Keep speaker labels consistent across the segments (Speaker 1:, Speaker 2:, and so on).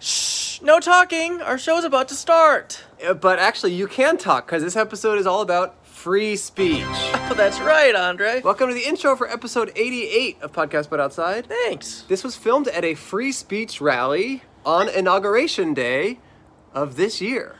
Speaker 1: Shh, no talking. Our show's about to start.
Speaker 2: Uh, But actually, you can talk because this episode is all about free speech.
Speaker 1: Oh, that's right, Andre.
Speaker 2: Welcome to the intro for episode 88 of Podcast But Outside.
Speaker 1: Thanks.
Speaker 2: This was filmed at a free speech rally on Inauguration Day of this year.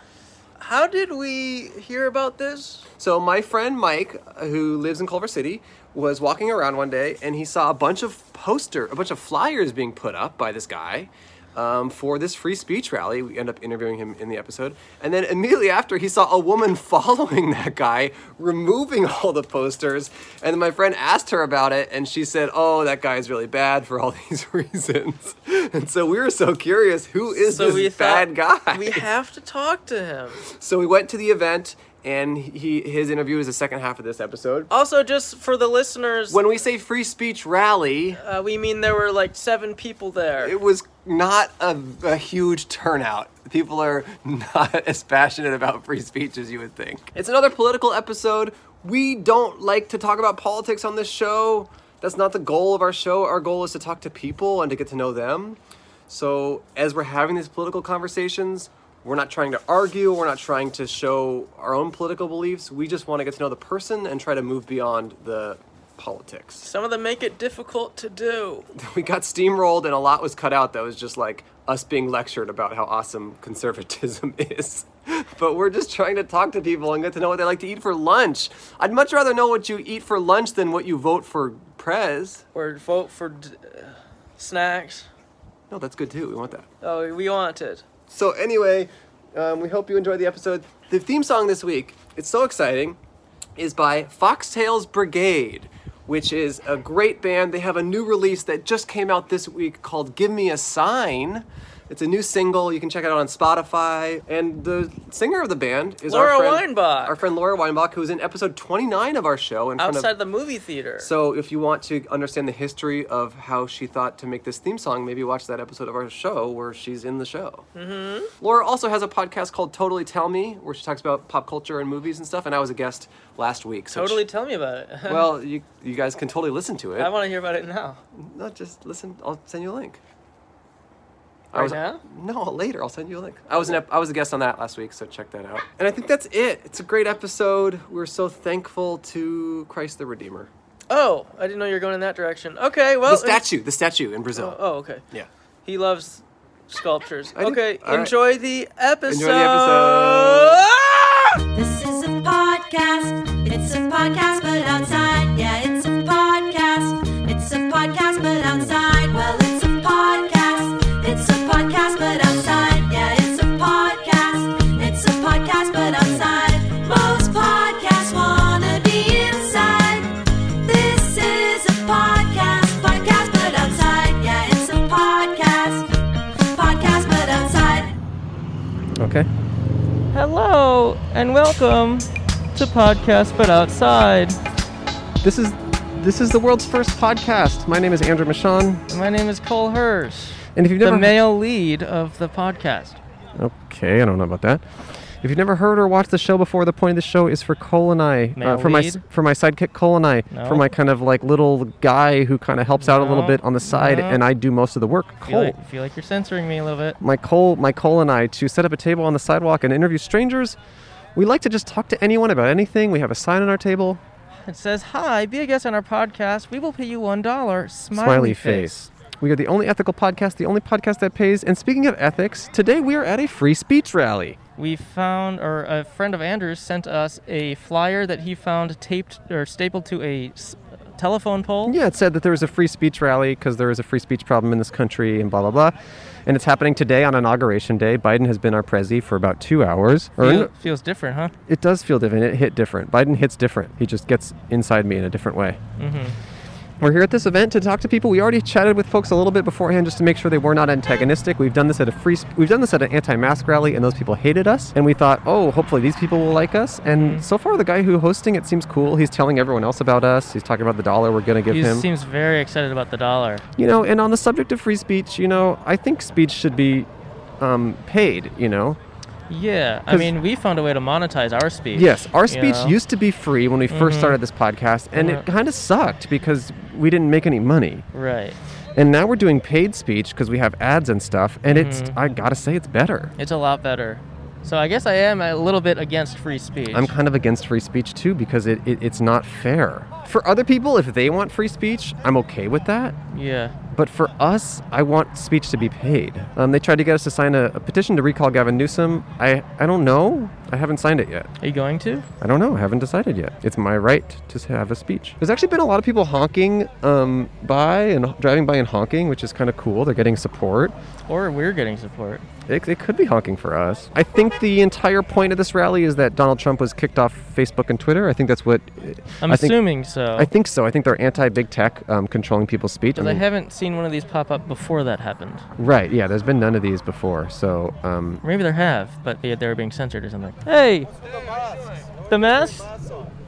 Speaker 1: How did we hear about this?
Speaker 2: So, my friend Mike, who lives in Culver City, was walking around one day and he saw a bunch of poster, a bunch of flyers being put up by this guy um, for this free speech rally. We end up interviewing him in the episode. And then immediately after, he saw a woman following that guy, removing all the posters. And then my friend asked her about it and she said, Oh, that guy's really bad for all these reasons. And so we were so curious who is this bad
Speaker 1: thought
Speaker 2: guy?
Speaker 1: We have to talk to him.
Speaker 2: So we went to the event, and he his interview is the second half of this episode.
Speaker 1: Also, just for the listeners,
Speaker 2: When we say free speech rally,
Speaker 1: uh, we mean there were like seven people there.
Speaker 2: it was not a, a huge turnout. People are not as passionate about free speech as you would think. It's another political episode. We don't like to talk about politics on this show. That's not the goal of our show. Our goal is to talk to people and to get to know them. So, as we're having these political conversations, we're not trying to argue, we're not trying to show our own political beliefs. We just want to get to know the person and try to move beyond the politics
Speaker 1: Some of them make it difficult to do.
Speaker 2: we got steamrolled and a lot was cut out that was just like us being lectured about how awesome conservatism is. But we're just trying to talk to people and get to know what they like to eat for lunch. I'd much rather know what you eat for lunch than what you vote for prez.
Speaker 1: Or vote for d- uh, snacks.
Speaker 2: No, that's good too. We want that.
Speaker 1: Oh, we want it.
Speaker 2: So anyway, um, we hope you enjoyed the episode. The theme song this week, it's so exciting, is by Foxtails Brigade, which is a great band. They have a new release that just came out this week called "Give Me a Sign." It's a new single. You can check it out on Spotify. And the singer of the band is our
Speaker 1: Laura
Speaker 2: friend,
Speaker 1: Weinbach.
Speaker 2: Our friend Laura Weinbach, who is in episode 29 of our show. In front of,
Speaker 1: Outside the movie theater.
Speaker 2: so if you want to understand the history of how she thought to make this theme song, maybe watch that episode of our show where she's in the show. Mm-hmm. Laura also has a podcast called Totally Tell Me, where she talks about pop culture and movies and stuff. And I was a guest last week. So
Speaker 1: totally tell me about it.
Speaker 2: well, you you guys can totally listen to it.
Speaker 1: I want to hear about it now.
Speaker 2: No, just listen. I'll send you a link. I
Speaker 1: Right
Speaker 2: was,
Speaker 1: now?
Speaker 2: No, later. I'll send you a link. I was an ep- I was a guest on that last week, so check that out. And I think that's it. It's a great episode. We're so thankful to Christ the Redeemer.
Speaker 1: Oh, I didn't know you were going in that direction. Okay, well.
Speaker 2: the statue, the statue in Brazil.
Speaker 1: Oh, okay.
Speaker 2: Yeah.
Speaker 1: He loves sculptures.
Speaker 2: I do.
Speaker 1: Okay,
Speaker 2: All right.
Speaker 1: enjoy the episode.
Speaker 2: episode.
Speaker 3: This is a podcast. It's a podcast, but outside. Yeah, it's a podcast. It's a podcast, but outside. Well, it's a podcast. It's a podcast, but outside. Yeah, it's a podcast. It's a podcast, but outside. Most podcasts wanna be inside. This is a podcast. Podcast, but outside. Yeah, it's a podcast. Podcast, but outside.
Speaker 2: Okay.
Speaker 1: Hello and welcome to Podcast But Outside.
Speaker 2: This is this is the world's first podcast. My name is Andrew Michon,
Speaker 1: My name is Cole Hirsch,
Speaker 2: and if you've
Speaker 1: the
Speaker 2: never
Speaker 1: male lead of the podcast.
Speaker 2: okay, I don't know about that. If you've never heard or watched the show before, the point of the show is for Cole and I, uh,
Speaker 1: Male
Speaker 2: for my
Speaker 1: lead?
Speaker 2: for my sidekick Cole and I,
Speaker 1: No.
Speaker 2: for my kind of like little guy who kind of helps out a little
Speaker 1: No,
Speaker 2: bit on the side,
Speaker 1: no.
Speaker 2: and I do most of the work.
Speaker 1: Feel
Speaker 2: Cole.
Speaker 1: like, feel like you're censoring me a little bit.
Speaker 2: my Cole, my Cole and I to set up a table on the sidewalk and interview strangers. We like to just talk to anyone about anything. We have a sign on our table.
Speaker 1: It says, "Hi, be a guest on our podcast. We will pay you one dollar." Smiley,
Speaker 2: smiley face. We are the only ethical podcast, the only podcast that pays. And speaking of ethics, today we are at a free speech rally.
Speaker 1: We found, or a friend of Andrew's sent us a flyer that he found taped or stapled to a s- telephone pole.
Speaker 2: Yeah, it said that there was a free speech rally because there is a free speech problem in this country and blah, blah, blah. And it's happening today on Inauguration Day. Biden has been our prezi for about two hours. Or
Speaker 1: Feel-
Speaker 2: no,
Speaker 1: feels different, huh?
Speaker 2: it does feel different. It hit different. Biden hits different. He just gets inside me in a different way. We're here at this event to talk to people. We already chatted with folks a little bit beforehand just to make sure they were not antagonistic. We've done this at a free, sp- we've done this at an anti-mask rally, and those people hated us. And we thought, oh, hopefully these people will like us. And so far, the guy who hosting it seems cool. He's telling everyone else about us. He's talking about the dollar we're gonna give
Speaker 1: He
Speaker 2: him.
Speaker 1: seems very excited about the dollar.
Speaker 2: you know, and on the subject of free speech, you know, I think speech should be um, paid. You know,
Speaker 1: Yeah, I
Speaker 2: 'Cause-
Speaker 1: mean, we found a way to monetize our speech.
Speaker 2: Yes, our
Speaker 1: you
Speaker 2: speech
Speaker 1: know? Mm-hmm.
Speaker 2: used to be free when we first started this podcast, and
Speaker 1: Yeah.
Speaker 2: it kind of sucked because we didn't make any money.
Speaker 1: Right.
Speaker 2: And now we're doing paid speech because we have ads and stuff, and it's
Speaker 1: Mm-hmm.
Speaker 2: I gotta say it's better.
Speaker 1: It's a lot better. So I guess I am a little bit against free speech.
Speaker 2: I'm kind of against free speech too because it, it it's not fair. For other people, if they want free speech, I'm okay with that.
Speaker 1: yeah.
Speaker 2: But for us, I want speech to be paid. Um, they tried to get us to sign a, a petition to recall Gavin Newsom. I, I don't know. I haven't signed it yet.
Speaker 1: Are you going to?
Speaker 2: I don't know. I haven't decided yet. It's my right to have a speech. There's actually been a lot of people honking um, by and driving by and honking, which is kind of cool. They're getting support.
Speaker 1: Or we're getting support.
Speaker 2: It, it could be honking for us. I think the entire point of this rally is that Donald Trump was kicked off Facebook and Twitter. I think that's what. uh,
Speaker 1: I'm
Speaker 2: I think-
Speaker 1: assuming so.
Speaker 2: I think so. I think they're anti big tech um, controlling people's speech. I
Speaker 1: Because I
Speaker 2: mean-
Speaker 1: haven't seen one of these pop up before that happened.
Speaker 2: right. Yeah. There's been none of these before. So um,
Speaker 1: Maybe there have, but they, they were being censored or something. Hey! The mask?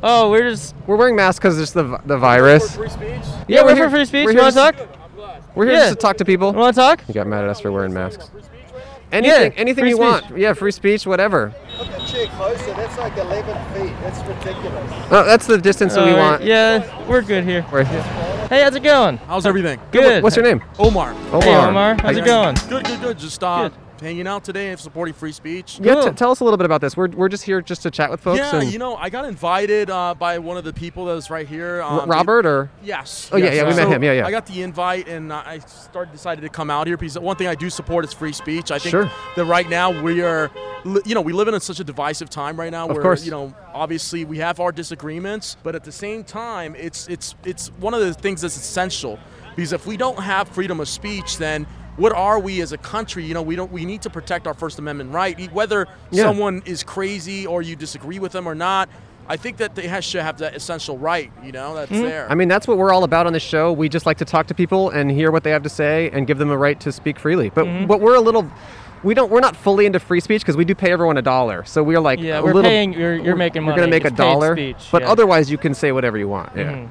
Speaker 1: Oh, we're just.
Speaker 2: we're wearing masks because it's the vi- the virus.
Speaker 4: Free speech?
Speaker 1: Yeah, we're, for free speech.
Speaker 2: We're
Speaker 1: You
Speaker 2: here,
Speaker 1: want
Speaker 2: just,
Speaker 1: to talk?
Speaker 2: We're here
Speaker 1: Yeah.
Speaker 2: just to talk to people.
Speaker 1: You want to talk?
Speaker 2: You got mad at us for wearing masks.
Speaker 4: Free speech, right?
Speaker 2: Anything,
Speaker 1: Yeah,
Speaker 2: anything
Speaker 1: free
Speaker 2: you
Speaker 1: speech.
Speaker 2: want. Yeah, free speech, whatever.
Speaker 4: Look at Chick closer. That's like 11 feet. That's ridiculous.
Speaker 2: Oh, that's the distance that we
Speaker 1: Uh,
Speaker 2: want.
Speaker 1: Yeah, we're good here.
Speaker 2: We're-
Speaker 1: Hey, how's it going?
Speaker 5: How's everything?
Speaker 1: Good.
Speaker 2: What's your name?
Speaker 5: Omar.
Speaker 2: Omar.
Speaker 1: Hey, Omar. How's
Speaker 2: Hi.
Speaker 1: it going?
Speaker 5: Good, good, good. Just uh, hanging out today and supporting free speech.
Speaker 2: Yeah, t-
Speaker 1: Cool.
Speaker 2: tell us a little bit about this. We're, we're just here just to chat with folks.
Speaker 5: Yeah,
Speaker 2: and
Speaker 5: you know, I got invited uh, by one of the people that was right here.
Speaker 2: R-
Speaker 5: um,
Speaker 2: Robert or
Speaker 5: Yes.
Speaker 2: Oh, yeah,
Speaker 5: yes.
Speaker 2: yeah, we met
Speaker 5: So
Speaker 2: him. Yeah, yeah.
Speaker 5: I got the invite and uh, I started decided to come out here because one thing I do support is free speech. I think
Speaker 2: Sure.
Speaker 5: that right now we are, li- you know, we live in such a divisive time right now. Of where,
Speaker 2: course.
Speaker 5: You know, obviously we have our disagreements, but at the same time, it's it's it's one of the things that's essential because if we don't have freedom of speech, then what are we as a country? You know, we don't. We need to protect our First Amendment right, E, whether
Speaker 2: Yeah.
Speaker 5: someone is crazy or you disagree with them or not. I think that they ha- should have that essential right. You know, that's there.
Speaker 2: Mm-hmm. I mean, that's what we're all about on this show. We just like to talk to people and hear what they have to say and give them a right to speak freely. But
Speaker 1: Mm-hmm.
Speaker 2: but we're a little, we don't, we're not fully into free speech because we do pay everyone a dollar. So we're like,
Speaker 1: Yeah,
Speaker 2: a
Speaker 1: we're
Speaker 2: little,
Speaker 1: paying- you're- you're making
Speaker 2: We're
Speaker 1: money.
Speaker 2: gonna make
Speaker 1: It's
Speaker 2: a
Speaker 1: paid
Speaker 2: dollar,
Speaker 1: speech,
Speaker 2: but
Speaker 1: yeah. Mm-hmm.
Speaker 2: otherwise you can say whatever you want. Yeah.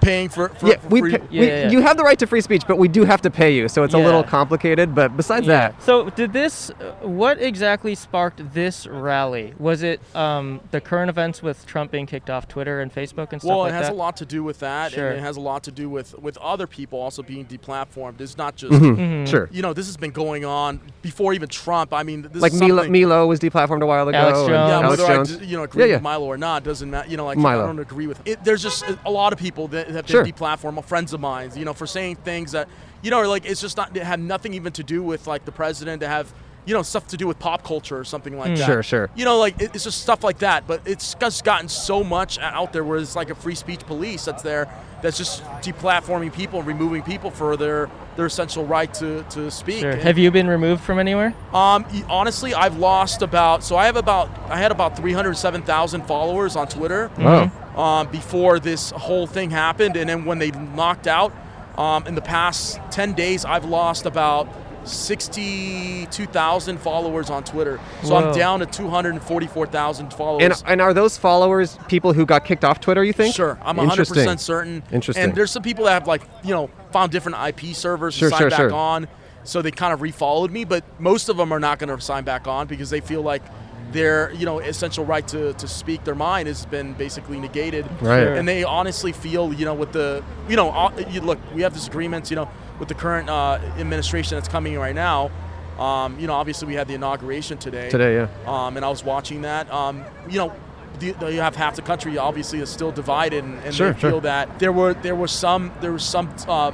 Speaker 5: paying for, for,
Speaker 2: Yeah,
Speaker 5: for
Speaker 2: we,
Speaker 5: free.
Speaker 2: pa- we
Speaker 1: yeah, yeah.
Speaker 2: you have the right to free speech, but we do have to pay you, so it's a
Speaker 1: Yeah.
Speaker 2: little complicated. But besides that,
Speaker 1: So, did this? What exactly sparked this rally? Was it um, the current events with Trump being kicked off Twitter and Facebook and stuff
Speaker 5: well,
Speaker 1: like
Speaker 5: it has
Speaker 1: that?
Speaker 5: a lot to do with that,
Speaker 1: Sure.
Speaker 5: and it has a lot to do with with other people also being deplatformed. It's not just
Speaker 1: Mm-hmm.
Speaker 2: sure.
Speaker 5: you know this has been going on before even Trump. I mean, this
Speaker 2: Like
Speaker 5: is
Speaker 2: Milo,
Speaker 5: something-
Speaker 2: Milo was deplatformed a while ago.
Speaker 1: Alex
Speaker 2: and
Speaker 1: Jones.
Speaker 5: Yeah,
Speaker 2: Alex
Speaker 5: whether
Speaker 2: Jones.
Speaker 5: I d- you know agree
Speaker 2: yeah, yeah.
Speaker 5: with Milo or not doesn't matter. You know, like
Speaker 2: Milo.
Speaker 5: I don't agree with it. There's just a lot of people that have been
Speaker 2: Sure.
Speaker 5: deplatformed, friends of mine. You know, for saying things that you know, like it's just not it had nothing even to do with like the president to have. You know, stuff to do with pop culture or something like that.
Speaker 2: Hmm. Sure, sure.
Speaker 5: You know, like it- it's just stuff like that. But it's just gotten so much out there where it's like a free speech police that's there, that's just deplatforming people, and removing people for their their essential right to to speak.
Speaker 1: Sure.
Speaker 5: And-
Speaker 1: Have you been removed from anywhere?
Speaker 5: um, y- honestly, I've lost about so I have about I had about 307,000 followers on Twitter
Speaker 2: Wow.
Speaker 1: Mm-hmm.
Speaker 5: um, before this whole thing happened, and then when they knocked out um, in the past 10 days, I've lost about 62,000 followers on Twitter. So
Speaker 1: Whoa.
Speaker 5: I'm down to 244,000 followers.
Speaker 2: And, and are those followers people who got kicked off Twitter? You think?
Speaker 5: Sure, I'm 100
Speaker 2: Interesting.
Speaker 5: percent certain.
Speaker 2: Interesting.
Speaker 5: And there's some people that have like you know found different IP servers
Speaker 2: Sure,
Speaker 5: to sign
Speaker 2: sure,
Speaker 5: back
Speaker 2: sure.
Speaker 5: on, so they kind of refollowed me. But most of them are not going to sign back on because they feel like their you know essential right to, to speak their mind has been basically negated.
Speaker 2: Right. Sure.
Speaker 5: And they honestly feel you know with the you know all- you look we have disagreements you know with the current uh, administration that's coming right now. Um, you know, obviously, we had the inauguration today.
Speaker 2: Today, yeah.
Speaker 5: Um, and I was watching that. Um, you know, the, the, you have half the country obviously is still divided, and, and
Speaker 2: Sure,
Speaker 5: they
Speaker 2: sure.
Speaker 5: feel that there were there was some there was some uh,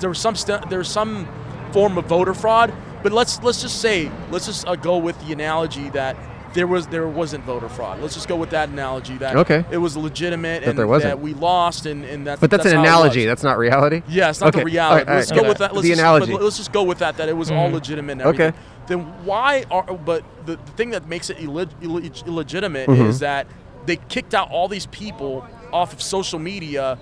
Speaker 5: there was some st- there was some form of voter fraud. But let's let's just say let's just uh, go with the analogy that there was there wasn't voter fraud. Let's just go with that analogy that
Speaker 2: Okay.
Speaker 5: it was legitimate and
Speaker 2: there wasn't.
Speaker 5: that we lost, and and that's
Speaker 2: But that's, an
Speaker 5: how it was.
Speaker 2: analogy. That's not reality.
Speaker 5: Yeah, it's not
Speaker 2: okay.
Speaker 5: the reality.
Speaker 2: All right,
Speaker 5: let's
Speaker 2: all right,
Speaker 5: go
Speaker 2: okay.
Speaker 5: with that. Let's
Speaker 2: the
Speaker 5: just,
Speaker 2: analogy.
Speaker 5: But let's just go with that. That it was all legitimate. And
Speaker 2: Okay.
Speaker 5: everything. Then why are? But the, the thing that makes it illeg- illeg- illegitimate is that they kicked out all these people off of social media.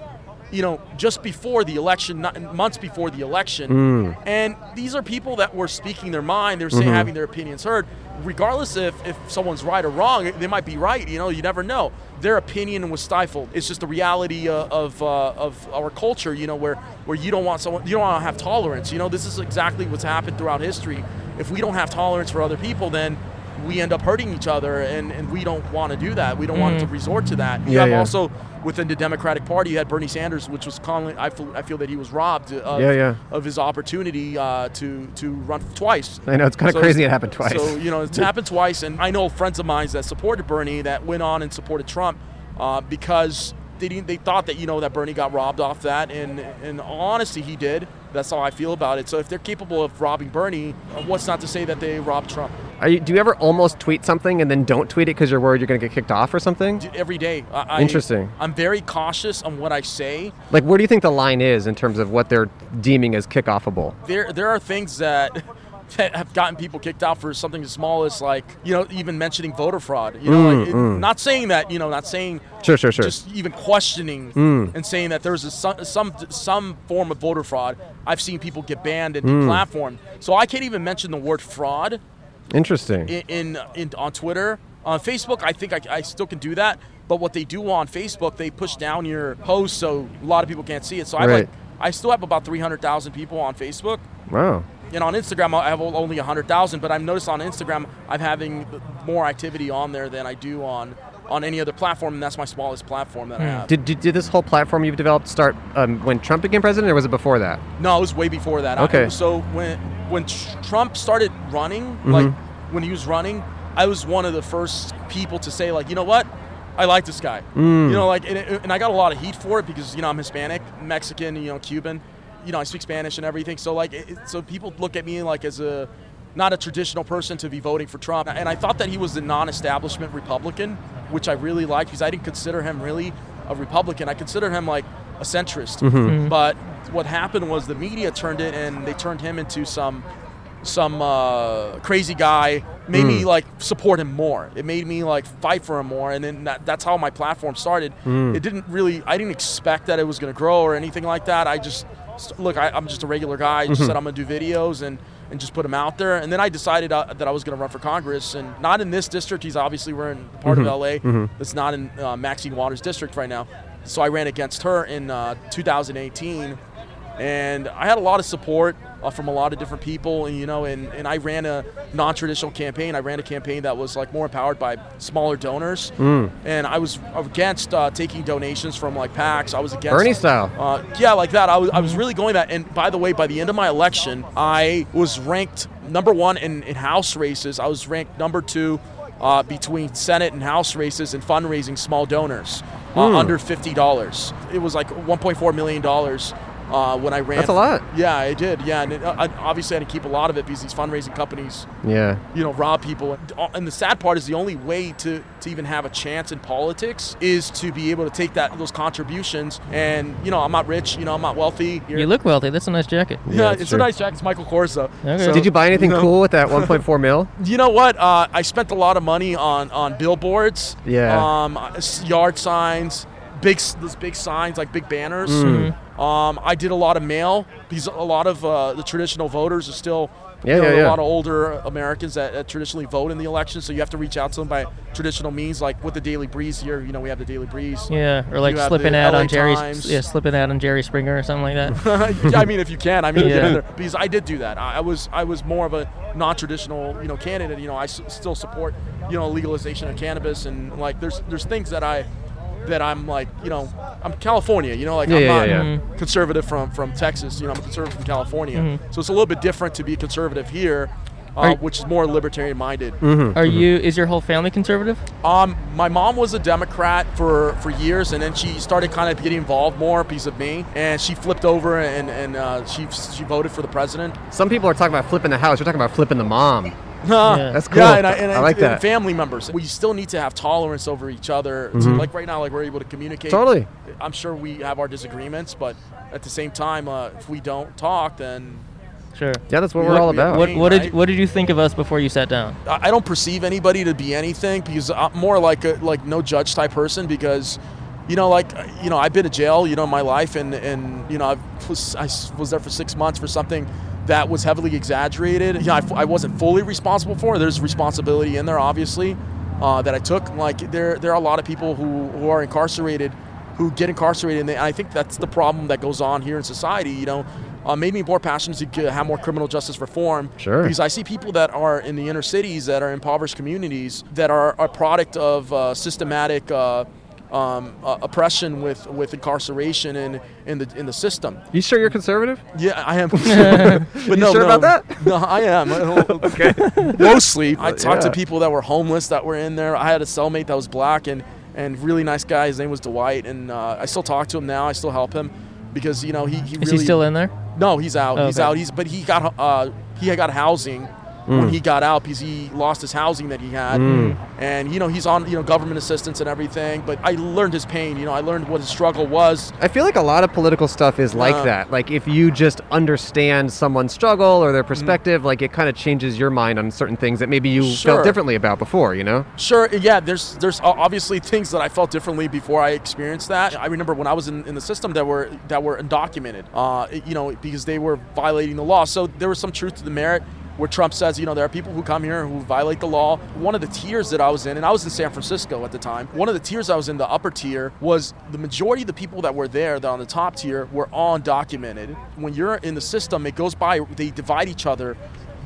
Speaker 5: You know, just before the election, not, months before the election, and these are people that were speaking their mind. They're saying having their opinions heard, regardless if if someone's right or wrong. They might be right. You know, you never know. Their opinion was stifled. It's just the reality uh, of uh, of our culture. You know, where where you don't want someone, you don't want to have tolerance. You know, this is exactly what's happened throughout history. If we don't have tolerance for other people, then we end up hurting each other, and, and we don't want to do that. We don't want to resort to that. You
Speaker 2: Mm. Yeah,
Speaker 5: have
Speaker 2: yeah.
Speaker 5: also within the Democratic Party, you had Bernie Sanders, which was calling. I feel, I feel that he was robbed of,
Speaker 2: Yeah, yeah.
Speaker 5: of his opportunity uh, to to run twice.
Speaker 2: I know it's kind of
Speaker 5: So-
Speaker 2: crazy it happened twice.
Speaker 5: So you know, it's happened twice, and I know friends of mine that supported Bernie that went on and supported Trump uh, because they didn't. They thought that you know that Bernie got robbed off that, and and honestly, he did. That's how I feel about it. So if they're capable of robbing Bernie, uh, what's not to say that they robbed Trump?
Speaker 2: Are you, do you ever almost tweet something and then don't tweet it because you're worried you're going to get kicked off or something?
Speaker 5: D- Every day. I, I-
Speaker 2: Interesting.
Speaker 5: I'm very cautious on what I say.
Speaker 2: Like, where do you think the line is in terms of what they're deeming as kickoffable?
Speaker 5: there there are things that that have gotten people kicked out for something as small as like you know even mentioning voter fraud you know like it, not saying that you know not saying
Speaker 2: Mm, Sure, sure, Mm. sure.
Speaker 5: just even questioning and saying that there's a, some, some some form of voter fraud i've seen people get banned and
Speaker 2: Mm.
Speaker 5: deplatformed so i can't even mention the word fraud
Speaker 2: Interesting.
Speaker 5: in, in, in on Twitter. On Facebook, I think I, I still can do that. But what they do on Facebook, they push down your post so a lot of people can't see it. So I
Speaker 2: Right.
Speaker 5: like I still have about three hundred thousand people on Facebook,
Speaker 2: wow.
Speaker 5: and on Instagram I have only hundred thousand. But I've noticed on Instagram I'm having more activity on there than I do on on any other platform, and that's my smallest platform that I have.
Speaker 2: Hmm. Did, did, did this whole platform you've developed start um, when Trump became president, or was it before that?
Speaker 5: No, it was way before that. I-
Speaker 2: Okay.
Speaker 5: so when when Tr- Trump started running,
Speaker 2: Mm-hmm.
Speaker 5: like when he was running, I was one of the first people to say like, you know what, I like this guy.
Speaker 2: Mm.
Speaker 5: You know, like, and, and I got a lot of heat for it because you know I'm Hispanic, Mexican, you know, Cuban, you know, I speak Spanish and everything. So like, it, it- so people look at me like as a not a traditional person to be voting for Trump, and I thought that he was a non-establishment Republican, which I really liked because I didn't consider him really a Republican. I considered him like a centrist, but what happened was the media turned it and they turned him into some some uh, crazy guy made me like support him more it made me like fight for him more and then that, that's how my platform started it didn't really i didn't expect that it was going to grow or anything like that i just s- look I, i'm just a regular guy i just said i'm going to do videos and and just put them out there and then i decided uh, that i was going to run for congress and not in this district he's obviously we're in part of la that's not in uh, maxine waters district right now so i ran against her in uh, 2018 and I had a lot of support uh, from a lot of different people, and you know, and, and I ran a non-traditional campaign. I ran a campaign that was like more empowered by smaller donors,
Speaker 2: Mm.
Speaker 5: and I was against uh, taking donations from like PACs. I was against
Speaker 2: Bernie style.
Speaker 5: uh, yeah, like that. I was, I was really going that. And by the way, by the end of my election, I was ranked number one in, in House races. I was ranked number two uh, between Senate and House races and fundraising small donors uh,
Speaker 2: Hmm.
Speaker 5: under $50. It was like $1.4 million uh, when I ran.
Speaker 2: That's a lot.
Speaker 5: Yeah, I did. Yeah. And it, I, I- obviously, I had to keep a lot of it because these fundraising companies
Speaker 2: Yeah.
Speaker 5: you know rob people and the sad part is the only way to, to even have a chance in politics is to be able to take that those contributions and you know i'm not rich you know i'm not wealthy
Speaker 1: You look wealthy. That's a nice jacket.
Speaker 5: yeah,
Speaker 2: that's
Speaker 5: it's
Speaker 2: true.
Speaker 5: a nice jacket. It's Michael Kors, though.
Speaker 1: Okay.
Speaker 2: Did you buy anything cool with that 1.4 mil?
Speaker 5: You know what? Uh, I spent a lot of money on on billboards.
Speaker 2: Yeah.
Speaker 5: Um, s- yard signs, big s- those big signs like big banners.
Speaker 2: Mm.
Speaker 5: Um, I did a lot of mail because a lot of uh, the traditional voters are still.
Speaker 2: Yeah,
Speaker 5: you know,
Speaker 2: yeah,
Speaker 5: A
Speaker 2: yeah.
Speaker 5: lot of older Americans that, that traditionally vote in the election, so you have to reach out to them by traditional means, like with the Daily Breeze here. You know, we have the Daily Breeze.
Speaker 1: Yeah, or like
Speaker 5: You have
Speaker 1: slip an
Speaker 5: the
Speaker 1: ad
Speaker 5: LA
Speaker 1: on Jerry.
Speaker 5: Times.
Speaker 1: Yeah, slip an ad on Jerry Springer or something like that.
Speaker 5: yeah, I mean, if you can, I mean,
Speaker 1: Yeah.
Speaker 5: yeah. because I did do that. I, I was I was more of a non-traditional, you know, candidate. You know, I s- still support, you know, legalization of cannabis and like there's there's things that I that I'm like, you know, I'm California. You know, like
Speaker 2: Yeah,
Speaker 5: I'm
Speaker 2: yeah,
Speaker 5: not
Speaker 2: yeah, yeah.
Speaker 5: conservative from from Texas. You know, I'm a conservative from California.
Speaker 2: Mm-hmm.
Speaker 5: So it's a little bit different to be a conservative here, uh,
Speaker 1: you-
Speaker 5: which is more libertarian-minded.
Speaker 2: Mm-hmm.
Speaker 1: Are you? Is your whole family conservative?
Speaker 5: Um, my mom was a Democrat for, for years, and then she started kind of getting involved more because of me, and she flipped over and and uh, she she voted for the president.
Speaker 2: Some people are talking about flipping the house. You're talking about flipping the mom. That's cool.
Speaker 5: Yeah, and I, and
Speaker 2: I like
Speaker 5: and
Speaker 2: that.
Speaker 5: family members. We still need to have tolerance over each other. So, like right now, like we're able to communicate.
Speaker 2: Mm-hmm. Totally.
Speaker 5: I'm sure we have our disagreements, but at the same time, uh, if we don't talk, then
Speaker 1: Sure.
Speaker 2: Yeah, that's what
Speaker 5: We
Speaker 2: we're
Speaker 5: like-
Speaker 2: all
Speaker 5: we-
Speaker 2: about.
Speaker 1: What, what did
Speaker 5: Right.
Speaker 1: what did you think of us before you sat down?
Speaker 5: I I don't perceive anybody to be anything because I'm more like a like no judge type person because you know like you know I've been to jail you know in my life and and you know I've, was- I s- was there for six months for something that was heavily exaggerated you know I, f- I wasn't fully responsible for it. there's responsibility in there obviously uh, that I took like there there are a lot of people who who are incarcerated who get incarcerated and they, I think that's the problem that goes on here in society you know uh, made me more passionate to get- have more criminal justice reform.
Speaker 2: Sure.
Speaker 5: Because I see people that are in the inner cities, that are impoverished communities, that are a product of uh, systematic. Uh, um, uh, oppression with, with incarceration in, in the in the system.
Speaker 2: You sure you're conservative?
Speaker 5: Yeah, I am. concerned. but
Speaker 2: You
Speaker 5: no,
Speaker 2: sure
Speaker 5: no.
Speaker 2: about that?
Speaker 5: No, I am. I don't-
Speaker 2: Okay.
Speaker 5: Mostly, I talked
Speaker 2: yeah.
Speaker 5: to people that were homeless that were in there. I had a cellmate that was black and and really nice guy. His name was Dwight, and uh, I still talk to him now. I still help him because you know he, he
Speaker 1: Is
Speaker 5: really
Speaker 1: he still in there?
Speaker 5: no, he's out. He's
Speaker 1: Okay.
Speaker 5: out. He's but he got uh, he had got housing when he got out because he lost his housing that he had, and you know he's on you know government assistance and everything. But I learned his pain. You know, I learned what his struggle was.
Speaker 2: I feel like a lot of political stuff is like
Speaker 5: Uh.
Speaker 2: that. Like if you just understand someone's struggle or their perspective, like it kind of changes your mind on certain things that maybe you
Speaker 5: Sure.
Speaker 2: felt differently about before. You know?
Speaker 5: Sure, yeah. There's there's o- obviously things that I felt differently before I experienced that. I remember when I was in, in the system that were that were undocumented, uh, you know, because they were violating the law. So there was some truth to the merit where Trump says, you know, there are people who come here who violate the law. One of the tiers that I was in, and I was in San Francisco at the time. One of the tiers I was in, the upper tier, was the majority of the people that were there, that on the top tier, were all undocumented. When you're in the system, it goes by they divide each other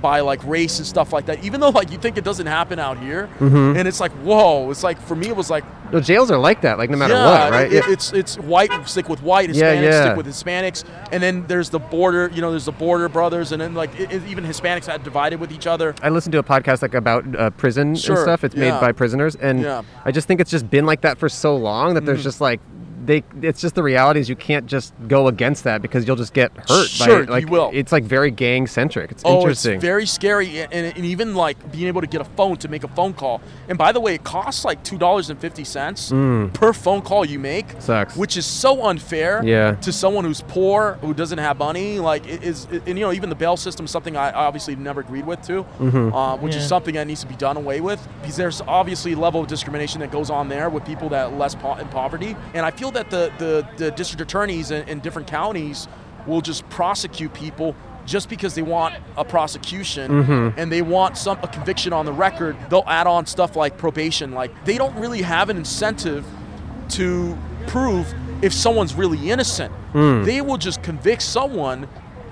Speaker 5: by like race and stuff like that. Even though like you think it doesn't happen out here,
Speaker 2: Mm-hmm.
Speaker 5: and it's like whoa, it's like for me it was like
Speaker 2: No, jails are like that. Like no matter
Speaker 5: yeah,
Speaker 2: what, right?
Speaker 5: it- it's it's white stick with white,
Speaker 2: Yeah,
Speaker 5: Hispanics
Speaker 2: yeah.
Speaker 5: stick with Hispanics, and then there's the border, you know, there's the border brothers, and then like it, it- even Hispanics had divided with each other.
Speaker 2: I listened to a podcast like about uh, prison
Speaker 5: Sure,
Speaker 2: and stuff. It's
Speaker 5: yeah.
Speaker 2: made by prisoners, and
Speaker 5: Yeah. Mm.
Speaker 2: I just think it's just been like that for so long that there's just like they. It's just the reality is you can't just go against that because you'll just get hurt.
Speaker 5: Sure, you
Speaker 2: by, like,
Speaker 5: will.
Speaker 2: It's like very gang centric. It's
Speaker 5: Oh, it's
Speaker 2: interesting.
Speaker 5: very scary, and, and even like being able to get a phone to make a phone call. And by the way, it costs like two dollars and fifty cents per phone call you make.
Speaker 2: Mm. Sucks.
Speaker 5: Which is so unfair.
Speaker 2: Yeah.
Speaker 5: To someone who's poor, who doesn't have money, like it is, and you know, even the bail system is something I I obviously never agreed with too, uh, which is
Speaker 1: Yeah.
Speaker 5: something that needs to be done away with because there's obviously a level of discrimination that goes on there with people that are less po- in poverty. And I feel that the the, the district attorneys in, in different counties will just prosecute people just because they want a prosecution and they want some a conviction on the record. They'll add on stuff like probation. Like they don't really have an incentive to prove if someone's really innocent.
Speaker 2: Hmm.
Speaker 5: They will just convict someone